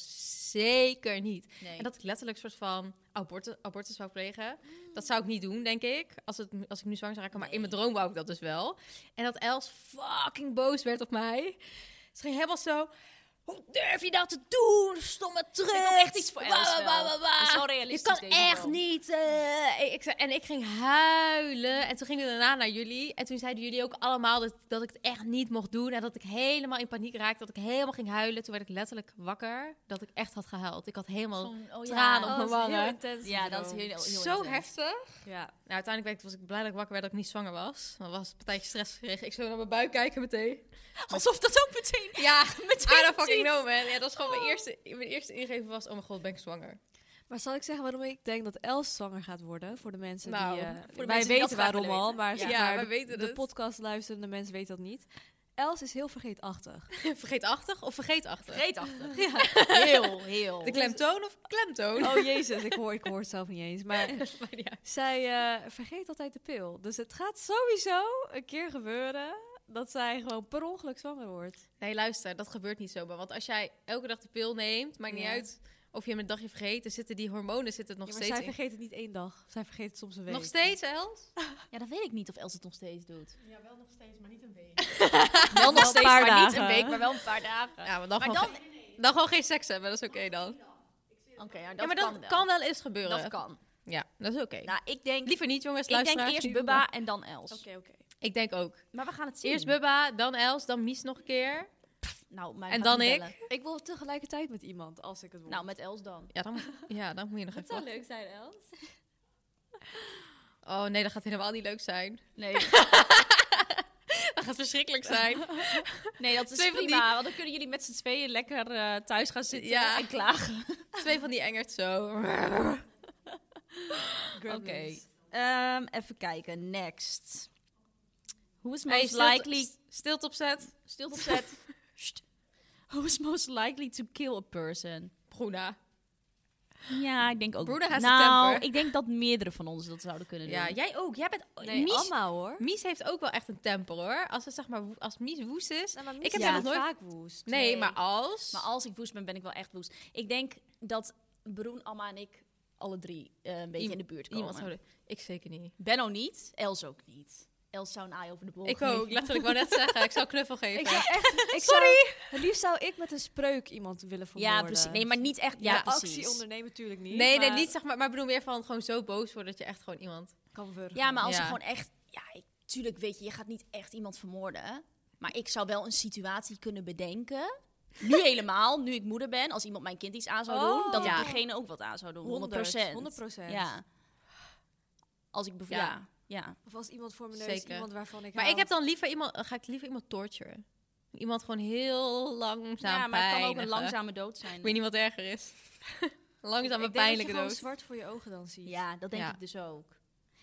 S2: zeker niet.
S3: Nee.
S2: En dat ik letterlijk soort van abortus, abortus zou plegen.
S3: Mm.
S2: Dat zou ik niet doen, denk ik. Als, het, als ik nu zwanger zou raken. Maar in mijn droom wou ik dat dus wel. En dat Els fucking boos werd op mij. Ze ging helemaal zo... Hoe durf je dat te doen, stomme trut?
S3: Ik wil echt iets voor Els
S2: Wa, wa, wa, wa,
S3: wel.
S2: wa.
S3: Dat is wel realistisch,
S2: Je kan
S3: deze
S2: echt
S3: wel.
S2: niet... eh. ik zei, en ik ging huilen. En toen gingen we daarna naar jullie. En toen zeiden jullie ook allemaal dat, dat ik het echt niet mocht doen. En dat ik helemaal in paniek raakte. Dat ik helemaal ging huilen. Toen werd ik letterlijk wakker. Dat ik echt had gehuild. Ik had helemaal...
S3: Zo'n- oh,
S2: tranen op mijn
S4: Oh, dat is heel
S2: wangen.
S4: intens
S3: Ja, dat is heel,
S4: syndroom.
S3: heel
S2: Zo
S3: intens.
S2: heftig.
S4: Ja.
S2: Nou, uiteindelijk werd ik- was ik blij dat ik wakker werd dat ik niet zwanger was. Dan was een partijtje stress gekregen. Ik zou naar mijn buik kijken meteen.
S3: Alsof dat ook meteen...
S2: Ja, meteen. Oh. I don't fucking
S3: ziet.
S2: know, man. Ja, dat was gewoon mijn eerste, mijn eerste ingeving was, oh mijn god, ben ik zwanger.
S4: Maar zal ik zeggen waarom ik denk dat Els zwanger gaat worden? Voor de mensen
S2: Nou,
S4: die... eh,
S2: voor de mensen
S4: wij
S2: die dat
S4: weten
S2: graag
S4: waarom
S2: willen
S4: al,
S2: weten.
S4: maar
S2: Ja,
S4: zeg maar,
S2: wij
S4: de,
S2: weten
S4: de
S2: het.
S4: podcast luisterende mensen weten dat niet. Els is heel vergeetachtig.
S2: Vergeetachtig of vergeetachtig?
S3: Reetachtig.
S2: Ja.
S3: Heel, heel.
S2: De klemtoon of klemtoon?
S4: Oh jezus, ik hoor, ik hoor het zelf niet eens. Maar
S2: Maakt niet uit.
S4: Zij eh, vergeet altijd de pil. Dus het gaat sowieso een keer gebeuren dat zij gewoon per ongeluk zwanger wordt.
S2: Nee, luister, dat gebeurt niet zomaar. Want als jij elke dag de pil neemt, maakt niet
S4: Ja.
S2: uit of je hem een dagje vergeet, dan zitten die hormonen zitten nog
S4: Ja, maar
S2: steeds
S4: zij
S2: in.
S4: vergeet het niet één dag. Zij vergeet het soms een week.
S2: Nog steeds, Els?
S3: Ja, dat weet ik niet of Els het nog steeds doet.
S2: Ja, wel nog steeds, maar niet een week.
S3: Wel nog
S4: een
S3: steeds,
S4: paar
S3: maar niet een
S4: dagen.
S3: week, maar wel een paar dagen.
S2: Ja, maar dan,
S3: Maar
S2: gewoon, ge- dan gewoon geen seks hebben, dat is oké dan.
S3: Oké, ja, dat,
S2: ja, maar dat kan wel, eens gebeuren.
S3: Dat kan.
S2: Ja, dat is oké.
S3: Nou, ik denk,
S2: Liever niet, jongens.
S3: ik denk
S2: luisteraars.
S3: eerst Bubba en dan Els.
S4: oké.
S2: Ik denk ook.
S3: Maar we gaan het zien.
S2: Eerst Bubba, dan Els, dan Mies nog een keer.
S3: nou, mij
S2: en
S3: gaat
S2: dan
S3: niet
S2: ik.
S3: bellen.
S4: Ik wil tegelijkertijd met iemand als ik het wil.
S3: Nou, met Els dan.
S2: Ja, dan, ja, dan moet je nog even wachten.
S3: leuk zijn, Els.
S2: Oh nee, dat gaat helemaal niet leuk zijn.
S3: Nee,
S2: Dat gaat verschrikkelijk zijn.
S3: nee dat is
S2: Twee van die-
S3: prima. Want dan kunnen jullie met z'n tweeën lekker eh, thuis gaan zitten
S2: Ja.
S3: en klagen.
S2: Twee van die engert zo.
S4: oké.
S3: Ehm, even kijken. Next. Who is
S2: Hey,
S3: most
S2: stilte-
S3: likely...
S2: s- Stilte opzet.
S3: Stilte opzet. Sst. Who is most likely to kill a person?
S2: Bruna.
S3: Ja, ik denk ook.
S2: Bruna has a
S3: nou,
S2: temper.
S3: ik denk dat meerdere van ons dat zouden kunnen doen.
S2: Ja, jij ook. Jij bent...
S4: Nee,
S2: Mies,
S4: allemaal hoor.
S2: Mies heeft ook wel echt een temper hoor. Als, het, zeg maar, wo- als Mies woest is...
S4: Nou, maar Mies
S2: Ik heb
S4: is
S3: haar
S4: niet
S2: nog nooit-
S4: vaak woest.
S2: Nee,
S3: Nee.
S2: maar als...
S3: Maar als ik woest ben, ben ik wel echt woest. Ik denk dat Broen, Alma en ik alle drie eh, een beetje
S2: Iem-
S3: in de buurt komen.
S2: Iemand zou... Ik zeker niet.
S3: Benno niet, Els ook niet. Els zou een aai over de bol
S2: Ik ook. Letterlijk, ik wou net zeggen. Ik zou knuffel geven.
S4: Ik zou echt, ik Sorry! het liefst zou ik met een spreuk iemand willen vermoorden.
S3: Ja, precies. Nee, maar niet echt. Ja,
S2: Ja,
S3: precies.
S4: Actie ondernemen natuurlijk niet.
S2: Nee,
S4: maar
S2: nee, niet zeg maar. Maar ik bedoel meer van gewoon zo boos worden dat je echt gewoon iemand.
S4: Kan wurgen.
S3: Ja, maar als
S2: Ja.
S3: je gewoon echt... Ja, ik, tuurlijk weet je, je gaat niet echt iemand vermoorden. Maar ik zou wel een situatie kunnen bedenken... Nu helemaal, nu ik moeder ben, als iemand mijn kind iets aan zou doen,
S4: Oh.
S3: dat
S2: Ja.
S3: ik diegene ook wat aan zou doen. 100
S4: 100%. 100%.
S3: Ja. Als ik
S2: Ja.
S3: bijvoorbeeld. Ja. ja.
S4: Of als iemand voor mijn neus,
S2: Zeker.
S4: iemand waarvan ik
S2: Maar ik
S4: hou.
S2: heb dan liever iemand. dan Ga ik liever iemand torturen? Iemand gewoon heel langzaam.
S3: Ja, maar het kan ook een
S2: pijnigen.
S3: langzame dood zijn.
S2: Ik weet niet wat erger is. Langzaam en
S4: ik denk dat je
S2: pijnlijke
S4: gewoon
S2: dood.
S4: zwart voor je ogen dan ziet.
S3: Ja, dat denk
S2: Ja.
S3: ik dus ook.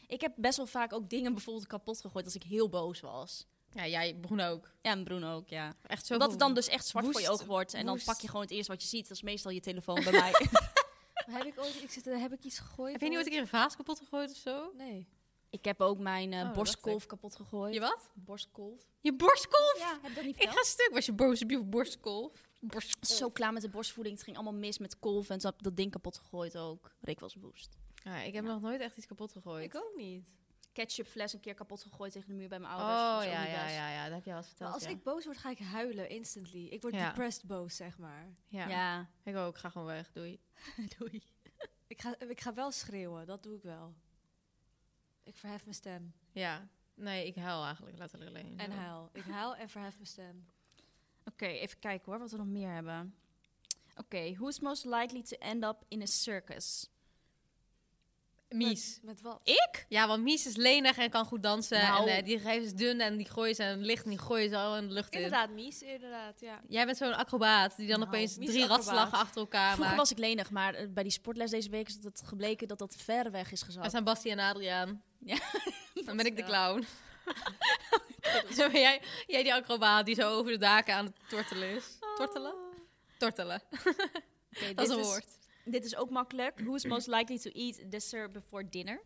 S3: Ik heb best wel vaak ook dingen bijvoorbeeld kapot gegooid als ik heel boos was.
S2: Ja, jij, Broen ook.
S3: Ja, en Bruno ook, ja.
S2: Echt zo.
S3: Omdat het dan dus echt zwart voor je
S4: woest-
S3: ogen wordt. En
S4: woest.
S3: dan pak je gewoon het eerste wat je ziet. Dat is meestal je telefoon bij mij.
S4: Maar heb ik ooit ik zit, heb ik iets gegooid?
S2: Heb je niet ooit een keer een vaas kapot gegooid of zo?
S4: Nee.
S3: ik heb ook mijn eh,
S2: Oh, dat dacht
S3: borstkolf kapot gegooid.
S2: Je wat?
S3: Borstkolf?
S2: Je borstkolf?
S3: Ja, heb ik dat niet
S2: Ik
S3: verteld? Oh.
S2: ga stuk. Was je boos op je borstkolf? Borstkolf.
S3: Zo klaar met de borstvoeding. Het ging allemaal mis met kolf. En toen heb ik dat ding kapot gegooid ook. Rick was woest.
S2: Ja, ik heb nog nooit echt iets kapot gegooid.
S4: Ik ook niet.
S3: ketchupfles een keer kapot gegooid tegen de muur bij mijn ouders. Dat
S2: Oh
S3: was ook
S2: ja,
S3: niet
S2: ja,
S3: best.
S2: ja, ja, dat heb je al eens verteld.
S4: Maar als
S2: ja.
S4: ik boos word, ga ik huilen instantly. Ik word
S2: Ja.
S4: depressed boos, zeg maar.
S2: Ja.
S3: Ja,
S2: ik ook. Ga gewoon weg. Doei.
S3: doei.
S4: Ik ga, ik ga wel schreeuwen, dat doe ik wel. Ik verhef mijn stem
S2: Ja. Nee, ik huil eigenlijk letterlijk alleen.
S4: en
S2: Zo.
S4: huil. Ik huil en verhef mijn stem.
S3: Oké, even kijken hoor, wat we nog meer hebben. Oké, who's most likely to end up in a circus?
S2: Mies.
S4: Met, met wat?
S3: Ik?
S2: Ja, want Mies is lenig en kan goed dansen.
S3: Nou.
S2: En eh, die geven ze dun en die gooien ze en licht en die gooien ze al in de lucht
S4: Inderdaad, Mies, inderdaad, ja.
S2: in. Jij bent zo'n acrobaat die dan
S3: Nou,
S2: opeens
S4: Mies
S2: drie
S4: acrobaat.
S2: ratslagen achter elkaar
S3: Vroeger
S2: maakt.
S3: was ik lenig, maar eh, bij die sportles deze week is het gebleken dat dat ver weg is
S2: Dat
S3: gezakt.
S2: zijn Bastie en Adriaan.
S3: Ja,
S2: Dan ben ik de clown. Dan ben jij, jij die acrobaat die zo over de daken aan het tortelen is. Tortelen? Tortelen.
S3: Ah. Oké,
S2: Dat is
S3: dit
S2: een woord.
S3: Dit is ook makkelijk. Who's most likely to eat dessert before dinner?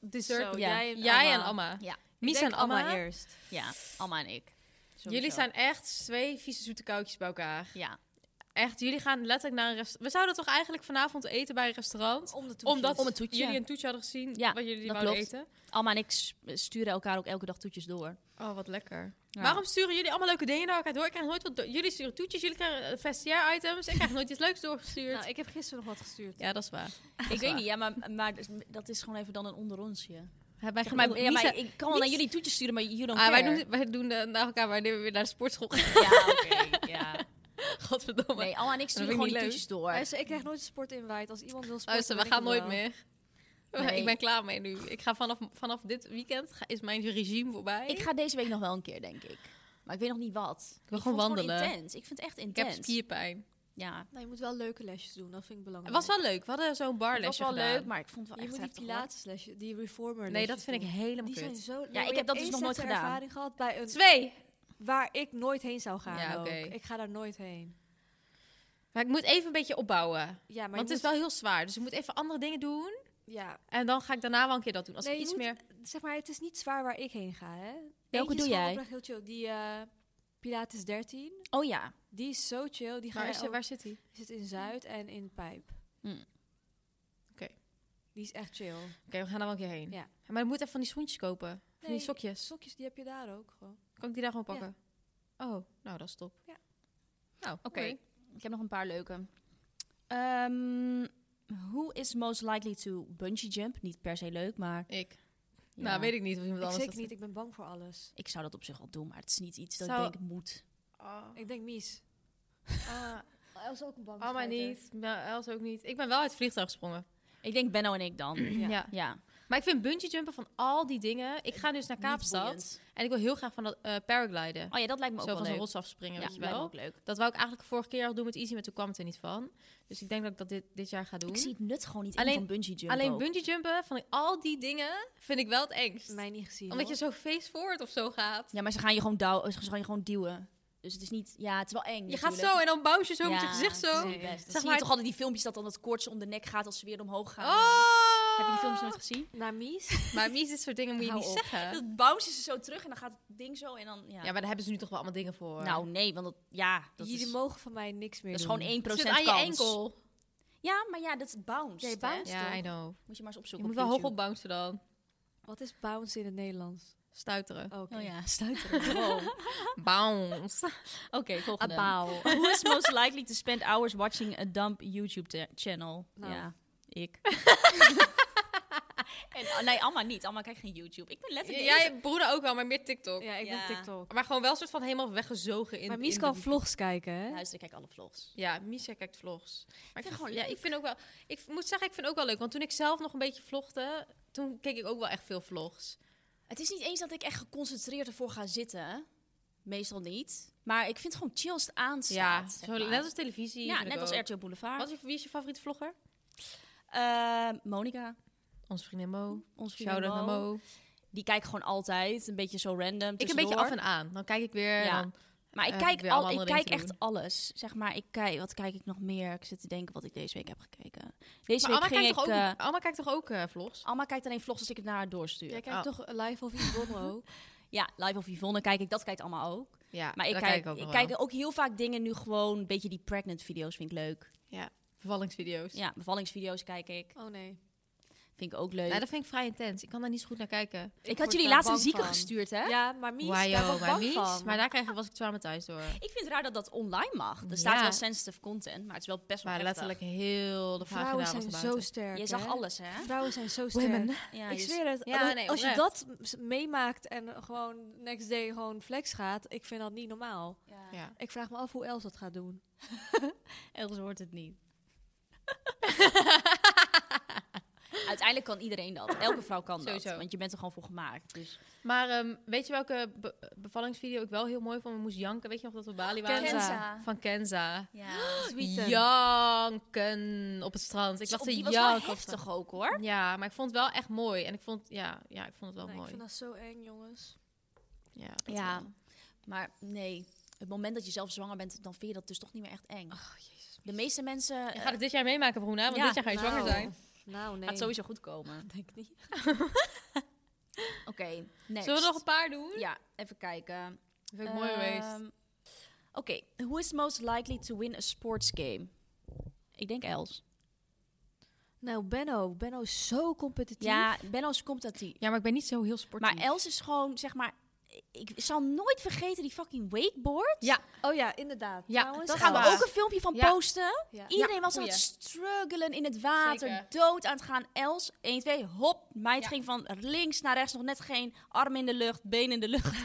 S2: Dessert.
S4: Zo,
S3: ja.
S4: jij en
S2: Jij en
S4: Amma.
S2: Amma.
S3: Ja.
S2: Mies en Amma.
S3: eerst. Ja, Alma en ik.
S2: Jullie zijn echt twee vieze zoete koutjes bij elkaar.
S3: Ja.
S2: Echt, jullie gaan letterlijk naar een restaurant. We zouden toch eigenlijk vanavond eten bij een restaurant?
S4: Om de Nou, toetjes.
S2: Omdat
S3: Om een toetje.
S2: jullie een toetje hadden gezien
S3: Ja,
S2: wat jullie
S3: dat
S2: wouden
S3: klopt.
S2: eten.
S3: Alma en ik s- sturen elkaar ook elke dag toetjes door.
S2: Oh, wat lekker.
S3: Ja.
S2: Waarom sturen jullie allemaal leuke dingen naar elkaar door? Ik krijg nooit wat door. Jullie sturen toetjes, jullie krijgen eh, vestiaire items. Ik krijg nooit iets leuks doorgestuurd.
S4: Nou, ik heb gisteren nog wat gestuurd.
S2: ja, dat is waar.
S3: ik weet
S2: waar.
S3: niet, ja, maar, maar dus, dat is gewoon even dan een onder onsje.
S2: Wij,
S3: Zeg maar, ja, maar ik kan wel naar
S2: Mies-
S3: jullie toetjes sturen, maar you don't
S2: ah, wij
S3: care.
S2: doen, wij doen eh, naar elkaar wanneer we weer naar de sportschool gaan.
S3: Ja, oké. ja.
S2: Godverdomme.
S3: Nee, Alma en
S2: vind ik
S3: ik sturen gewoon
S2: niet leuk.
S3: die toetjes door.
S4: Luister, ik krijg nooit een sportinvite. Als iemand wil sporten,
S2: Luister, we
S4: dan
S2: gaan
S4: doe ik
S2: nooit
S4: het wel.
S2: meer.
S3: Nee.
S2: Ik ben klaar mee nu. Ik ga vanaf, vanaf dit weekend ga- is mijn regime voorbij.
S3: Ik ga deze week nog wel een keer, denk ik. Maar ik weet nog niet wat. Ik
S2: wil
S3: vond
S2: gewoon
S3: het
S2: wandelen.
S3: intens. Ik vind het echt
S2: ik heb
S3: intens.
S2: spierpijn.
S3: Ja.
S4: Nou, je moet wel leuke lesjes doen, dat vind ik
S2: Het
S4: belangrijk.
S2: was wel leuk. We hadden zo'n
S3: Het was
S2: barlesje
S3: wel
S2: gedaan.
S3: leuk, maar ik vond het wel
S4: Je
S3: echt
S4: moet die
S3: heftig, hoor.
S4: pilates lesjes, die reformer
S2: Nee, dat vind ik helemaal
S4: Die zijn
S2: kut.
S4: zo leuk.
S3: ik
S4: Maar je
S3: heb dat
S4: hebt
S3: dus nog
S4: één
S3: nooit
S4: slechte
S3: gedaan.
S4: ervaring gehad bij een...
S2: Twee.
S4: Waar ik nooit heen zou gaan
S2: Ja,
S4: ook.
S2: oké.
S4: Ik ga daar nooit heen.
S2: Maar ik moet even een beetje opbouwen.
S4: Ja, maar
S2: want het
S4: je
S2: is wel heel zwaar. Dus ik moet even andere dingen doen.
S4: moet- Ja,
S2: En dan ga ik daarna wel een keer dat doen. Als
S4: Nee,
S2: ik
S4: je
S2: iets
S4: moet-
S2: meer...
S4: zeg maar, het is niet zwaar waar ik heen ga, hè?
S3: Welke
S4: Eentje
S3: doe
S4: is gewoon
S3: jij?
S4: oprecht heel chill. Die eh, Pilates 13,
S3: Oh ja.
S4: die is zo chill. Die ga
S2: Waar,
S4: je
S2: is,
S4: ook-
S2: waar zit hij?
S4: zit in Zuid en in Pijp.
S3: Hmm.
S2: Oké.
S4: Die is echt chill.
S2: Oké, we gaan daar wel een keer heen.
S4: Ja.
S2: Maar je moet even van die schoentjes kopen. Van
S4: Nee,
S2: die sokjes.
S4: Sokjes, die heb je daar ook gewoon.
S2: Kan ik die daar gewoon pakken? Oh, nou dat is top.
S4: Ja.
S2: Nou, oké.
S3: Oké. Ik heb nog een paar leuke. Ehm, who is most likely to bungee jump? Niet per se leuk, maar...
S2: Ik. Nou, weet ik niet of iemand
S4: Ik
S2: anders
S4: zeker niet, ik ben bang voor alles.
S3: Ik zou dat op zich wel doen, maar het is niet iets dat
S2: Zou-
S3: ik denk moet.
S4: Ik denk mies. Els ook een bang.
S2: Oh, maar niet. Nou, Els ook niet. Ik ben wel uit het vliegtuig gesprongen.
S3: Ik denk Benno en ik dan.
S2: Ja.
S4: Ja.
S3: Ja.
S2: Maar ik vind bungee jumpen van al die dingen. Ik ga dus naar
S3: Niet
S2: Kaapstad.
S3: boeiend.
S2: En ik wil heel graag van dat eh paragliden.
S3: Oh ja, dat lijkt me ook
S2: Zo van
S3: wel
S2: zo'n
S3: leuk.
S2: rots afspringen,
S3: ja,
S2: weet je
S3: lijkt me
S2: wel.
S3: ook leuk.
S2: Dat wou ik eigenlijk vorige keer al doen met Easy, maar toen kwam het er niet van. Dus ik denk dat ik dat dit, dit jaar ga doen.
S3: Ik zie het nut gewoon niet
S2: Alleen-
S3: in van bungee jump
S2: Alleen
S3: ook.
S2: bungee jumpen, van al die dingen, vind ik wel het engst.
S4: Mij niet gezien.
S2: Omdat je
S4: hoor.
S2: zo face forward of zo gaat.
S3: Ja, maar ze gaan je gewoon, douw, ze gaan je gewoon duwen. Dus het is niet... Ja, het is wel eng
S2: Je gaat
S3: natuurlijk.
S2: zo en dan bounce je zo
S3: Ja,
S2: met je gezicht
S3: het is
S2: zo.
S3: niet best. Dan
S2: Zeg
S3: zie
S2: maar-
S3: je toch altijd die filmpjes dat dan dat koortje om de nek gaat als ze weer omhoog gaan.
S2: Oh!
S3: Heb je die filmpjes nooit gezien?
S4: Naar mies?
S2: Maar Mies, dit soort dingen moet je
S3: Hou
S2: niet
S3: op.
S2: zeggen.
S3: Dat bouncen ze zo terug en dan gaat het ding zo en dan... Ja,
S2: Ja, maar daar hebben ze nu toch wel allemaal dingen voor.
S3: nou nee, want dat... Ja, dat
S4: Jullie
S3: is, dat
S4: mogen van mij niks meer
S3: is
S4: doen.
S3: gewoon 1%
S2: het
S3: kans.
S2: zit aan je enkel.
S3: Ja, maar ja, dat is bounce.
S4: Ja, je bounced.
S2: Ja,
S4: toch?
S2: I know.
S3: Moet je maar eens
S2: Je
S3: opzoeken
S2: moet
S3: op
S2: wel hoog
S3: YouTube.
S2: op bouncen dan.
S4: Wat is bounce in het Nederlands?
S2: Stuiteren.
S4: Oh, oké.
S3: Oh ja, stuiteren. Wow.
S2: Bounce.
S3: Oké, volgende.
S4: Abau.
S3: Who is most likely to spend hours watching a dumb YouTube te- channel?
S4: Nou.
S3: Ja, ik. en, oh, nee, Alma niet. Alma kijkt geen YouTube. Ik ben letterlijk... de
S2: Jij broeder ook wel, maar meer TikTok.
S4: Ja, ik
S3: Ja.
S4: ben Tiktok.
S2: Maar gewoon wel soort van helemaal weggezogen in
S4: maar Mies
S2: in
S4: kan
S2: de-
S4: vlogs kijken, hè?
S3: Luister, ik kijk alle vlogs.
S2: Ja, Misha kijkt vlogs. Maar ik,
S3: vind
S2: vind,
S3: gewoon
S2: ja, ik vind ook wel. Ik v- moet zeggen, ik vind het ook wel leuk. Want toen ik zelf nog een beetje vlogde, toen keek ik ook wel echt veel vlogs.
S3: Het is niet eens dat ik echt geconcentreerd ervoor ga zitten. Meestal niet. Maar ik vind het gewoon chill als het
S2: ja,
S3: aanstaat. zeg
S2: zo,
S3: maar.
S2: net als televisie.
S3: ja,
S2: vind ik
S3: net als
S2: ook.
S3: RTL Boulevard.
S2: Wat is je, wie is je favoriete vlogger?
S3: Eh, Monica,
S2: Onze vriendin Mo.
S3: ons vriendin
S2: Shout out naar Mo.
S3: Die kijkt gewoon altijd. Een beetje zo random.
S2: Ik een beetje af
S3: tussendoor.
S2: en aan. Dan kijk ik weer.
S3: Ja.
S2: Dan,
S3: Maar ik
S2: Eh,
S3: kijk,
S2: weer
S3: al,
S2: allemaal
S3: ik
S2: andere
S3: kijk
S2: dingen te
S3: echt alles. Zeg maar, ik kijk, wat kijk ik nog meer? Ik zit te denken wat ik deze week heb gekeken. Deze
S2: maar Alma
S3: week ging
S2: kijkt,
S3: ik...
S2: toch ook,
S3: eh,
S2: Alma kijkt toch ook eh, vlogs?
S3: Alma kijkt alleen vlogs als ik het naar haar doorstuur. Oh.
S4: Jij kijkt toch live of Yvonne ook?
S3: Ja, Live of Yvonne kijk ik. Dat kijkt Alma ook.
S2: Ja,
S3: Maar ik
S2: daar
S3: kijk,
S2: ook
S3: ik
S2: nog wel.
S3: kijk ook heel vaak dingen nu gewoon... Een beetje die pregnant video's vind ik leuk.
S2: Vervallingsvideo's.
S3: Ja, bevallingsvideo's kijk ik.
S4: Oh nee.
S3: Vind ik ook leuk.
S2: Nou, dat vind ik vrij intens. Ik kan daar niet zo goed naar kijken.
S3: ik
S4: word
S3: had jullie
S4: daar
S3: laatst een
S4: bang
S3: zieke
S4: van.
S3: gestuurd, hè?
S4: Ja, maar Mies,
S2: Wajo,
S4: daar word ik
S2: maar
S4: bang
S2: mies.
S4: van.
S2: Maar daar krijg ik- was ik zwaar thuis door.
S3: Ik vind het raar dat dat online mag. Er staat
S2: Ja.
S3: wel sensitive content, maar het is wel best wel
S2: Maar
S3: heftig.
S2: letterlijk heel de vraag
S4: Vrouwen
S2: gedaan was
S4: zijn
S2: about
S4: zo
S2: it.
S4: sterk,
S3: Je zag
S4: hè?
S3: alles, hè?
S4: Vrouwen zijn zo sterk.
S2: Women.
S3: Ja,
S4: ik
S3: je-
S4: zweer het.
S2: Ja,
S4: als,
S2: nee,
S4: als je
S2: oprecht.
S4: dat s- meemaakt en gewoon next day gewoon flex gaat, ik vind dat niet normaal.
S3: Ja.
S2: Ja.
S4: Ik vraag me af hoe Els dat gaat doen.
S3: Elders wordt het niet. Uiteindelijk kan iedereen dat. Elke vrouw kan dat.
S2: Sowieso.
S3: Want je bent er gewoon voor gemaakt. Dus.
S2: Maar ehm, weet je welke be- bevallingsvideo ik wel heel mooi vond? We moest janken. Weet je nog dat we op Bali waren?
S4: Kenza.
S2: Van Kenza.
S3: Ja. Dus
S4: Sweeten.
S2: Janken op het strand. Ik dacht, ze
S3: die was wel
S2: janken. op het
S3: heftig ook, hoor.
S2: strand. Ja, maar ik vond het wel echt mooi. En ik vond, ja, ja ik vond het wel
S4: Nee, ik
S2: mooi.
S4: vind dat zo eng, jongens.
S2: Ja. dat
S3: Ja.
S2: wel.
S3: Maar nee, het moment dat je zelf zwanger bent, dan vind je dat dus toch niet meer echt eng. De meeste mensen...
S2: Je
S3: eh,
S2: gaat het dit jaar meemaken, Bruna. Want
S3: Ja,
S2: dit jaar ga je zwanger
S4: nou.
S2: zijn.
S4: Nou, nee.
S3: gaat sowieso goed komen. Denk ik niet. Oké, next.
S2: Zullen we nog een paar doen?
S3: Ja, even kijken.
S2: Dat vind ik mooi geweest.
S3: Ehm, Oké, who is most likely to win a sports game? Ik denk Els.
S4: Nou, Benno. Benno is zo competitief.
S3: Ja, Benno is competitief.
S2: Ja, maar ik ben niet zo heel sportief.
S3: Maar Els is gewoon, zeg maar... Ik zal nooit vergeten die fucking wakeboard.
S2: Ja,
S4: Oh ja, inderdaad.
S2: Ja,
S4: Trouwens,
S2: dat
S3: Daar gaan
S2: is
S3: we
S2: waar.
S3: ook een filmpje van
S2: Ja.
S3: posten.
S4: Ja.
S3: Iedereen was aan
S2: goeie.
S3: het struggelen in het water.
S2: Zeker.
S3: Dood aan het gaan. Els, 1, 2, hop. Meid
S2: Ja.
S3: ging van links naar rechts. Nog net geen arm in de lucht, been in de lucht.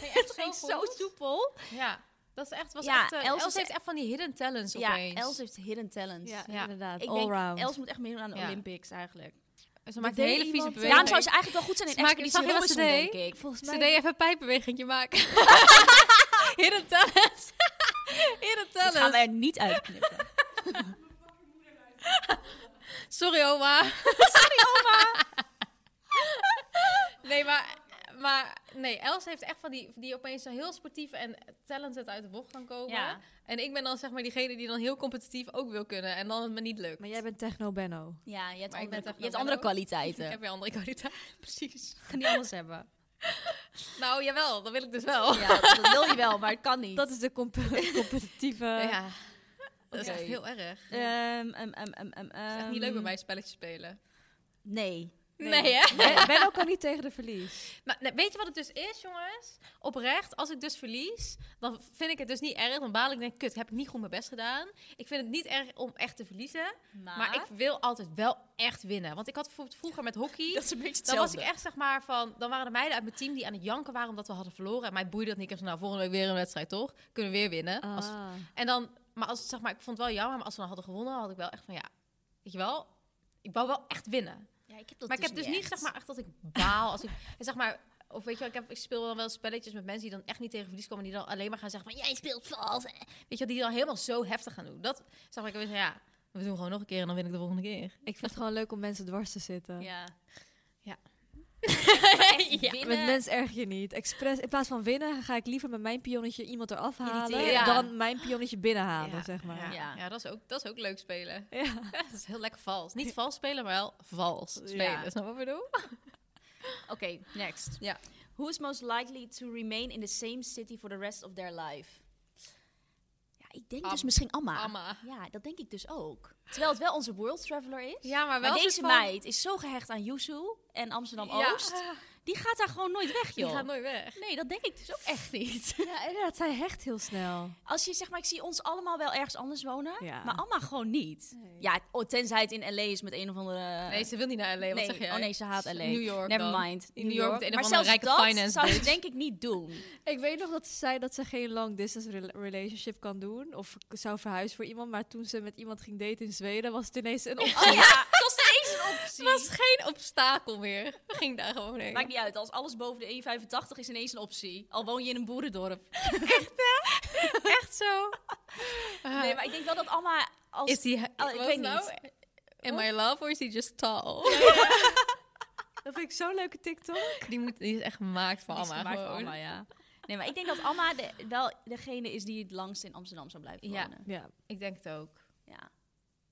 S3: Het ging zo soepel.
S2: Ja, dat is echt, was
S3: Ja,
S2: echt... eh,
S3: Els
S2: Els,
S3: is
S2: heeft echt van die hidden talents
S3: Ja,
S2: opeens.
S3: Els heeft hidden talent.
S4: Ja,
S2: Ja.
S4: inderdaad.
S3: Ik denk,
S4: Allround.
S3: Els moet echt meedoen aan de
S2: Ja.
S3: Olympics eigenlijk.
S2: Ze maakt
S4: deed
S2: hele vieze
S4: iemand-
S2: bewegingen.
S3: Daarom zou ze eigenlijk wel goed zijn in
S2: Ze maken-
S3: Expeditie
S2: zag je wat ze
S3: Robinson,
S2: deed?
S3: denk ik.
S4: Volgens
S2: Ze
S4: mij...
S2: deed even een pijpbewegingje maken. hidden talents. hidden
S3: Dit
S2: talents.
S3: gaan we er niet uitknippen.
S2: Sorry, oma. Sorry, oma. nee, maar, maar nee, Els heeft echt van die, die opeens zo heel sportief en talented uit de bocht kan komen.
S3: Ja.
S2: En ik ben dan zeg maar diegene die dan heel competitief ook wil kunnen en dan het me niet lukt.
S4: Maar jij bent Techno Benno.
S3: Ja, je hebt
S2: Maar ik ben
S3: andere,
S2: het echt
S3: je hebt
S2: wel
S3: andere
S2: ook.
S3: kwaliteiten.
S2: Ik heb weer andere kwaliteiten.
S3: precies. Kan niet alles hebben.
S2: Nou, jawel, dat wil ik dus wel.
S3: Ja, dat wil je wel, maar het kan niet.
S4: Dat is de comp- competitieve...
S2: Ja. Dat is
S3: Oké.
S2: echt heel erg.
S3: Ehm, ehm, ehm, ehm, ehm,
S2: Het is echt niet leuk bij
S3: ehm,
S2: mij spelletjes spelen.
S3: Nee.
S2: Nee, hè?
S4: Ben- Benno kan niet tegen de verlies.
S2: Maar nee, weet je wat het dus is, jongens? Oprecht, als ik dus verlies, dan vind ik het dus niet erg. Dan baal ik denk, kut, heb ik niet goed mijn best gedaan. Ik vind het niet erg om echt te verliezen.
S3: Maar,
S2: Maar ik wil altijd wel echt winnen. Want ik had bijvoorbeeld vroeger met hockey...
S3: is een beetje
S2: Dan was ik echt, zeg maar, van... Dan waren de meiden uit mijn team die aan het janken waren omdat we hadden verloren. En mij boeide dat niet. Ik zei, nou, volgende week weer een wedstrijd, toch? Kunnen we weer winnen. Als,
S4: Ah.
S2: en dan, maar als zeg maar, ik vond het wel jammer, maar als we dan hadden gewonnen, had ik wel echt van ja, weet je wel, ik wou wel echt winnen.
S3: Ja, ik heb dat
S2: maar ik heb dus niet
S3: echt.
S2: zeg maar echt dat ik baal als ik en zeg maar. Of weet je, wel, ik, heb, ik speel dan wel spelletjes met mensen die dan echt niet tegen verlies komen. Die dan alleen maar gaan zeggen van, jij speelt vals. hè. Weet je, wel, die dan helemaal zo heftig gaan doen. Dat zeg maar, ik weet van, ja, we doen gewoon nog een keer en dan win ik de volgende keer.
S4: Ik vind het gewoon leuk om mensen dwars te zitten.
S3: Ja.
S2: Ja.
S3: Maar echt
S2: Ja.
S3: winnen.
S4: Met mens erg je niet. Expres, in plaats van winnen ga ik liever met mijn pionnetje iemand eraf halen
S3: Irriteren.
S4: dan mijn pionnetje binnenhalen,
S2: Ja,
S4: zeg maar.
S2: Ja,
S3: Ja.
S4: Ja.
S2: ja. dat, is ook, dat is ook leuk spelen.
S4: Ja.
S2: Dat is heel lekker vals. Niet vals spelen, maar wel vals spelen.
S3: Ja.
S2: Snap je wat ik bedoel?
S3: Oké, next.
S2: Ja.
S3: Who is most likely to remain in the same city for the rest of their life? Ja, ik denk
S2: Am-
S3: dus misschien Amma.
S2: Amma.
S3: Ja, dat denk ik dus ook. Terwijl het wel onze world traveler is.
S2: Ja, maar wel
S3: Maar
S2: een
S3: deze
S2: soort van-
S3: meid is zo gehecht aan Yuzu en
S2: Ja.
S3: Amsterdam-Oost. Die gaat daar gewoon nooit weg,
S2: Die
S3: joh.
S2: gaat nooit weg.
S3: Nee, dat denk ik dus ook echt niet.
S4: inderdaad, zij hecht heel snel.
S3: Als je zeg maar, ik zie ons allemaal wel ergens anders wonen,
S4: Ja.
S3: maar Amma gewoon niet. Ja, oh, tenzij het in LA is met een of andere.
S2: Nee, ze wil niet naar LA. Wat
S3: Nee,
S2: zeg jij?
S3: oh nee, ze haat LA.
S2: New York
S3: Never
S2: dan.
S3: mind.
S2: In New York met een of
S3: maar
S2: andere
S3: zelfs
S2: rijke
S3: dat
S2: finance
S3: zou ze
S2: bitch.
S3: denk ik niet doen. Oh,
S4: Ik weet nog dat ze zei dat ze geen long distance rela- relationship kan doen of k- zou verhuizen voor iemand, maar toen ze met iemand ging daten in Zweden was het ineens een optie.
S3: ja, dat is ineens een optie.
S2: Het was geen obstakel meer. Ging daar gewoon heen.
S3: Maakt niet uit, als alles boven de 1,85 is ineens een optie. Al woon je in een boerendorp.
S2: Ah. echt zo.
S3: Nee, maar ik denk wel dat Amma als...
S2: is die...
S3: Oh, ik
S2: ik
S3: weet
S2: weet nou? Am I love or is he just tall?
S4: Dat vind ik zo'n leuke TikTok.
S2: Die, moet, die is echt gemaakt voor
S3: Die is
S2: Amma.
S3: gemaakt voor
S2: gewoon.
S3: Amma, ja. Nee, maar ik denk dat Amma de- wel degene is die het langst in Amsterdam zou blijven
S2: Ja.
S3: wonen.
S4: Ja,
S2: Ik denk het ook.
S3: Ja.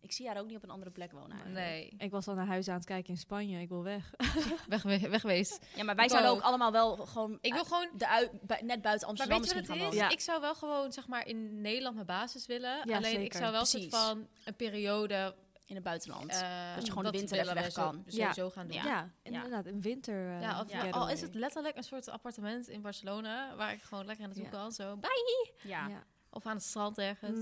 S3: Ik zie haar ook niet op een andere plek wonen eigenlijk.
S2: Nee.
S4: ik was al naar huis aan het kijken in Spanje. Ik wil weg.
S2: Weg, weg, weg geweest.
S3: Ja, maar wij
S2: Ik
S3: zouden ook
S2: ook.
S3: allemaal wel gewoon...
S2: Ik wil gewoon...
S3: de uit, bu- net buiten
S2: Maar
S3: Amsterdam
S2: weet je
S3: misschien
S2: wat
S3: gaan
S2: het is?
S3: wonen.
S4: Ja.
S2: Ik zou wel gewoon zeg maar in Nederland mijn basis willen.
S4: Ja,
S2: Alleen ik
S4: zeker.
S2: zou wel een soort
S3: Precies.
S2: van een periode
S3: in het buitenland.
S2: Eh,
S3: dat je gewoon de winter
S2: willen
S3: even
S2: we
S3: weg
S2: zo- dus
S3: kan.
S2: Sowieso gaan doen.
S4: Ja,
S2: Ja.
S4: inderdaad. Een winter. eh,
S2: of,
S3: Ja.
S2: Al
S4: getaway.
S2: is het letterlijk een soort appartement in Barcelona waar ik gewoon lekker naartoe
S4: Ja.
S2: kan. Zo, bye.
S3: ja.
S4: Ja.
S2: Of aan het strand ergens.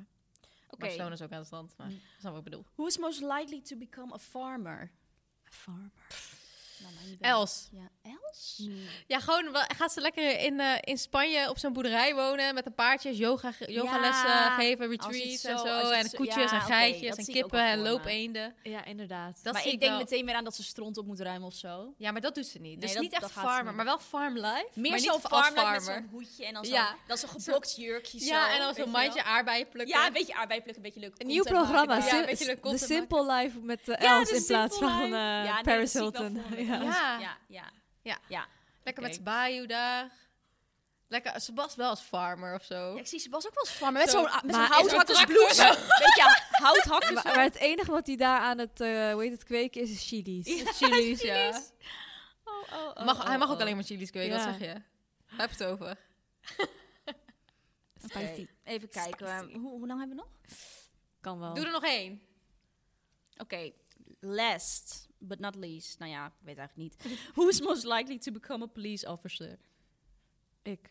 S3: Oké.
S2: Barcelona is ook aan het strand, maar
S3: Mm.
S2: dat is wat ik bedoel.
S3: Who is most likely to become a farmer?
S4: Farmer.
S3: Nou, maar niet bij-
S2: Els.
S3: Ja, Els?
S2: Ja, gewoon wel- gaat ze lekker in, eh, in Spanje op zo'n boerderij wonen met een paardjes, yoga, yogalessen
S3: Ja,
S2: geven,
S3: als je het
S2: retreats en
S3: zo-
S2: zo.
S3: als je het
S2: En
S3: zo-
S2: koetjes
S3: ja,
S2: en
S3: oké,
S2: geitjes
S3: dat
S2: en
S3: zie ik ook
S2: kippen
S3: wel
S2: en
S3: voor me.
S2: loop-eenden.
S4: Ja, inderdaad.
S2: Dat
S3: maar
S2: zie
S3: ik denk
S2: wel.
S3: meteen weer aan dat ze stront op moet ruimen of zo.
S2: Ja, maar dat doet ze niet. Dus
S3: Nee, dat-
S2: niet echt
S3: dat gaat ze
S2: farmer,
S3: niet.
S2: maar wel farm life.
S3: Meer
S2: maar
S3: zo'n
S2: niet
S3: farmer,
S2: als
S3: met
S2: farmer.
S3: zo'n hoedje en dan zo'n
S2: Ja.
S3: dan zo'n geblokt jurkje zo.
S2: ja, en dan
S3: weet
S2: zo'n
S3: je wel.
S2: mandje aardbeien plukken.
S3: Ja, een beetje aardbeipluk, een beetje leuk.
S4: Een nieuw
S3: content
S4: programma.
S3: maken.
S2: Ja,
S4: Sim-
S2: een beetje de
S4: de
S2: content
S4: Simple Life met de
S3: Ja,
S4: Els
S3: de
S4: in plaats
S3: Simple
S4: van
S3: Life.
S4: eh,
S3: Ja, nee,
S4: Paris
S3: dat zie ik wel
S4: Hilton.
S3: voor me.
S4: Ja.
S2: Ja.
S3: Ja, ja.
S2: Lekker
S3: Oké.
S2: met Bayou daar. Lekker, ze was wel als farmer of zo.
S3: Ja, ik zie Sebas ook wel eens farmer. Met
S2: Zo.
S3: zo'n met zo'n
S4: Maar is
S3: houthakkersblouse. Weet je, houthakkers.
S4: Maar, maar het enige wat hij daar aan het, eh hoe heet het, kweken is, is chilies.
S2: chilies, ja.
S3: Oh, oh, oh,
S2: Mag, hij
S3: oh,
S2: mag ook
S3: oh.
S2: alleen maar chilies kweken,
S4: Ja.
S2: wat zeg je? Heb het over.
S3: Oké, Even kijken. eh,
S4: Spicy.
S3: Hoe, hoe lang hebben we nog?
S4: Kan
S3: Oh.
S4: wel.
S2: Doe er nog één.
S3: Oké, last but not least. Nou ja, ik weet eigenlijk niet. Who is most likely to become a police officer?
S4: Ik.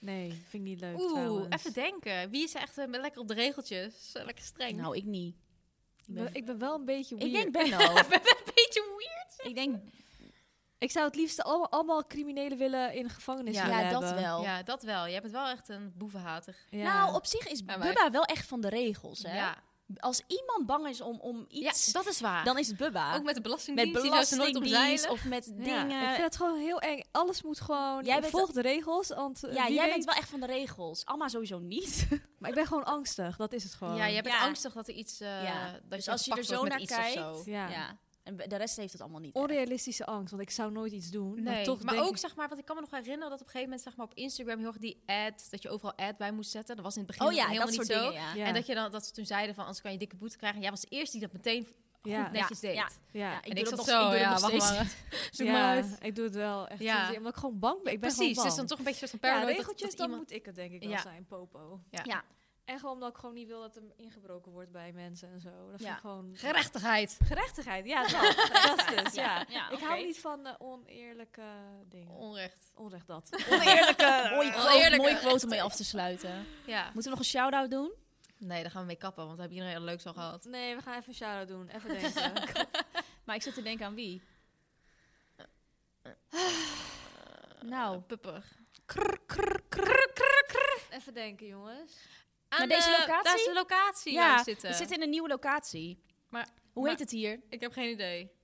S4: Nee, vind ik niet leuk
S2: Oeh,
S4: trouwens.
S2: even denken. Wie is er echt eh, lekker op de regeltjes? Eh, Lekker streng.
S3: Nou, ik niet.
S4: Nou, Ik ben- Ik ben wel een beetje
S3: Ik
S4: weird.
S3: denk Benno.
S2: een beetje weird.
S3: ik denk,
S4: Ik zou het liefst allemaal, allemaal criminelen willen in de gevangenis
S2: Ja,
S4: willen
S3: ja, dat
S4: hebben.
S3: wel.
S2: Ja, dat wel. Je bent wel echt een boevenhater.
S4: Ja.
S3: Nou, op zich is
S2: En wij.
S3: Bubba wel echt van de regels, hè?
S2: Ja.
S3: Als iemand bang is om, om iets,
S2: ja, dat is waar.
S3: dan is het Bubba.
S2: ook met de belastingdienst.
S3: met
S2: die zou ze nooit
S3: belastingdienst
S2: omzeilen.
S3: of met
S4: Ja,
S3: dingen.
S4: Ik vind het gewoon heel eng. Alles moet gewoon...
S3: Jij
S4: Jij
S3: bent-
S4: volg de regels, want eh,
S3: ja,
S4: wie
S3: jij
S4: weet-
S3: bent wel echt van de regels. Alma sowieso niet.
S4: Maar ik ben gewoon angstig, dat is het gewoon.
S2: Ja, je bent
S3: Ja.
S2: angstig dat er iets... eh, dat
S3: dus
S2: je
S3: als je er
S2: gepakt
S3: zo
S2: wordt met iets of
S3: naar kijkt.
S2: zo.
S4: Ja.
S3: En de rest heeft het allemaal niet. echt.
S4: Onrealistische angst, want ik zou nooit iets doen. maar
S2: Nee,
S4: toch
S2: maar,
S4: denk
S2: ook
S4: ik-
S2: zeg maar, want ik kan me nog herinneren dat op een gegeven moment zeg maar, op Instagram heel erg die ad, dat je overal ad bij moest zetten. Dat was in het begin
S3: Oh ja,
S2: helemaal
S3: dat
S2: niet
S3: soort
S2: zo.
S3: dingen, ja.
S4: Ja.
S2: En dat, je dan, dat ze toen zeiden van, anders kan je dikke boete krijgen. En jij was de eerste die dat meteen goed
S4: Ja.
S2: netjes
S3: Ja,
S2: deed.
S3: ja.
S4: Ja.
S3: Ja,
S2: En
S3: doe
S2: ik
S3: dat
S2: zat
S3: nog-
S2: zo,
S3: doe dat
S2: ja,
S3: nog
S2: wacht
S3: steeds.
S2: maar. Zoek
S4: Ja,
S2: maar uit.
S4: ik doe het wel echt.
S2: Ja.
S4: sinds- Omdat ik gewoon bang ben. Ik ben
S2: Precies,
S4: gewoon
S2: dus
S4: bang.
S2: dan toch een beetje een soort
S4: ja,
S2: paranoid. dat-
S4: regeltjes,
S2: dat,
S4: dan
S2: iemand...
S4: moet ik het denk ik wel
S2: Ja.
S4: zijn, popo.
S2: Ja.
S3: Ja.
S4: En gewoon omdat ik gewoon niet wil dat er ingebroken wordt bij mensen en zo. Dat
S3: Ja.
S4: vind ik gewoon...
S2: Gerechtigheid.
S4: Gerechtigheid, ja, dat. dat is het, dus, ja.
S3: Ja,
S4: Ik
S3: oké.
S4: hou niet van eh, oneerlijke dingen.
S2: Onrecht.
S4: Onrecht dat.
S3: Oneerlijke. Mooi quote,
S2: Oneerlijke.
S3: mooie quote om mee af te sluiten.
S2: Ja.
S3: Moeten we nog een shout-out doen?
S2: Nee, daar gaan we mee kappen, want we hebben iedereen al leuks al gehad.
S4: Nee, we gaan even een shout-out doen. Even denken.
S3: Maar ik zit te denken aan wie.
S2: Oh.
S3: Nou,
S2: Pupper.
S4: even denken, jongens.
S2: Aan
S3: deze
S2: de-
S3: locatie?
S2: Daar is de locatie waar
S3: ja,
S2: we zitten.
S3: we zitten in een nieuwe locatie.
S2: Maar-
S3: Hoe
S2: maar-
S3: heet het hier?
S2: Ik heb geen idee.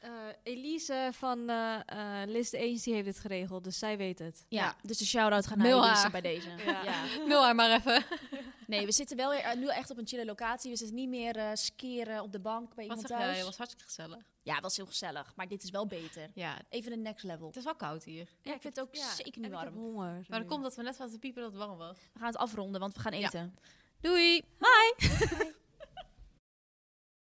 S4: Eh, Elise van eh eh, List Agency heeft dit geregeld, dus zij weet het.
S3: Ja, dus de shout-out gaat
S2: Mail
S3: naar Elise
S2: haar.
S3: bij deze. Ja.
S4: Ja.
S2: Wil haar maar even.
S3: Nee, we zitten wel weer, eh, nu echt op een chille locatie. We zitten niet meer eh, skeren op de bank bij
S2: Wat
S3: iemand
S2: zeg
S3: thuis.
S2: jij? was hartstikke gezellig.
S3: Ja, het was heel gezellig, maar dit is wel beter.
S2: Ja,
S3: Even de next level.
S2: het is wel koud hier.
S3: Ja, ik vind het ook zeker niet
S4: en ik heb
S3: warm.
S4: honger.
S2: Maar dat komt dat we net zaten te piepen dat het warm was.
S3: We gaan het afronden, want we gaan
S2: Ja.
S3: eten.
S2: Doei!
S3: Hi!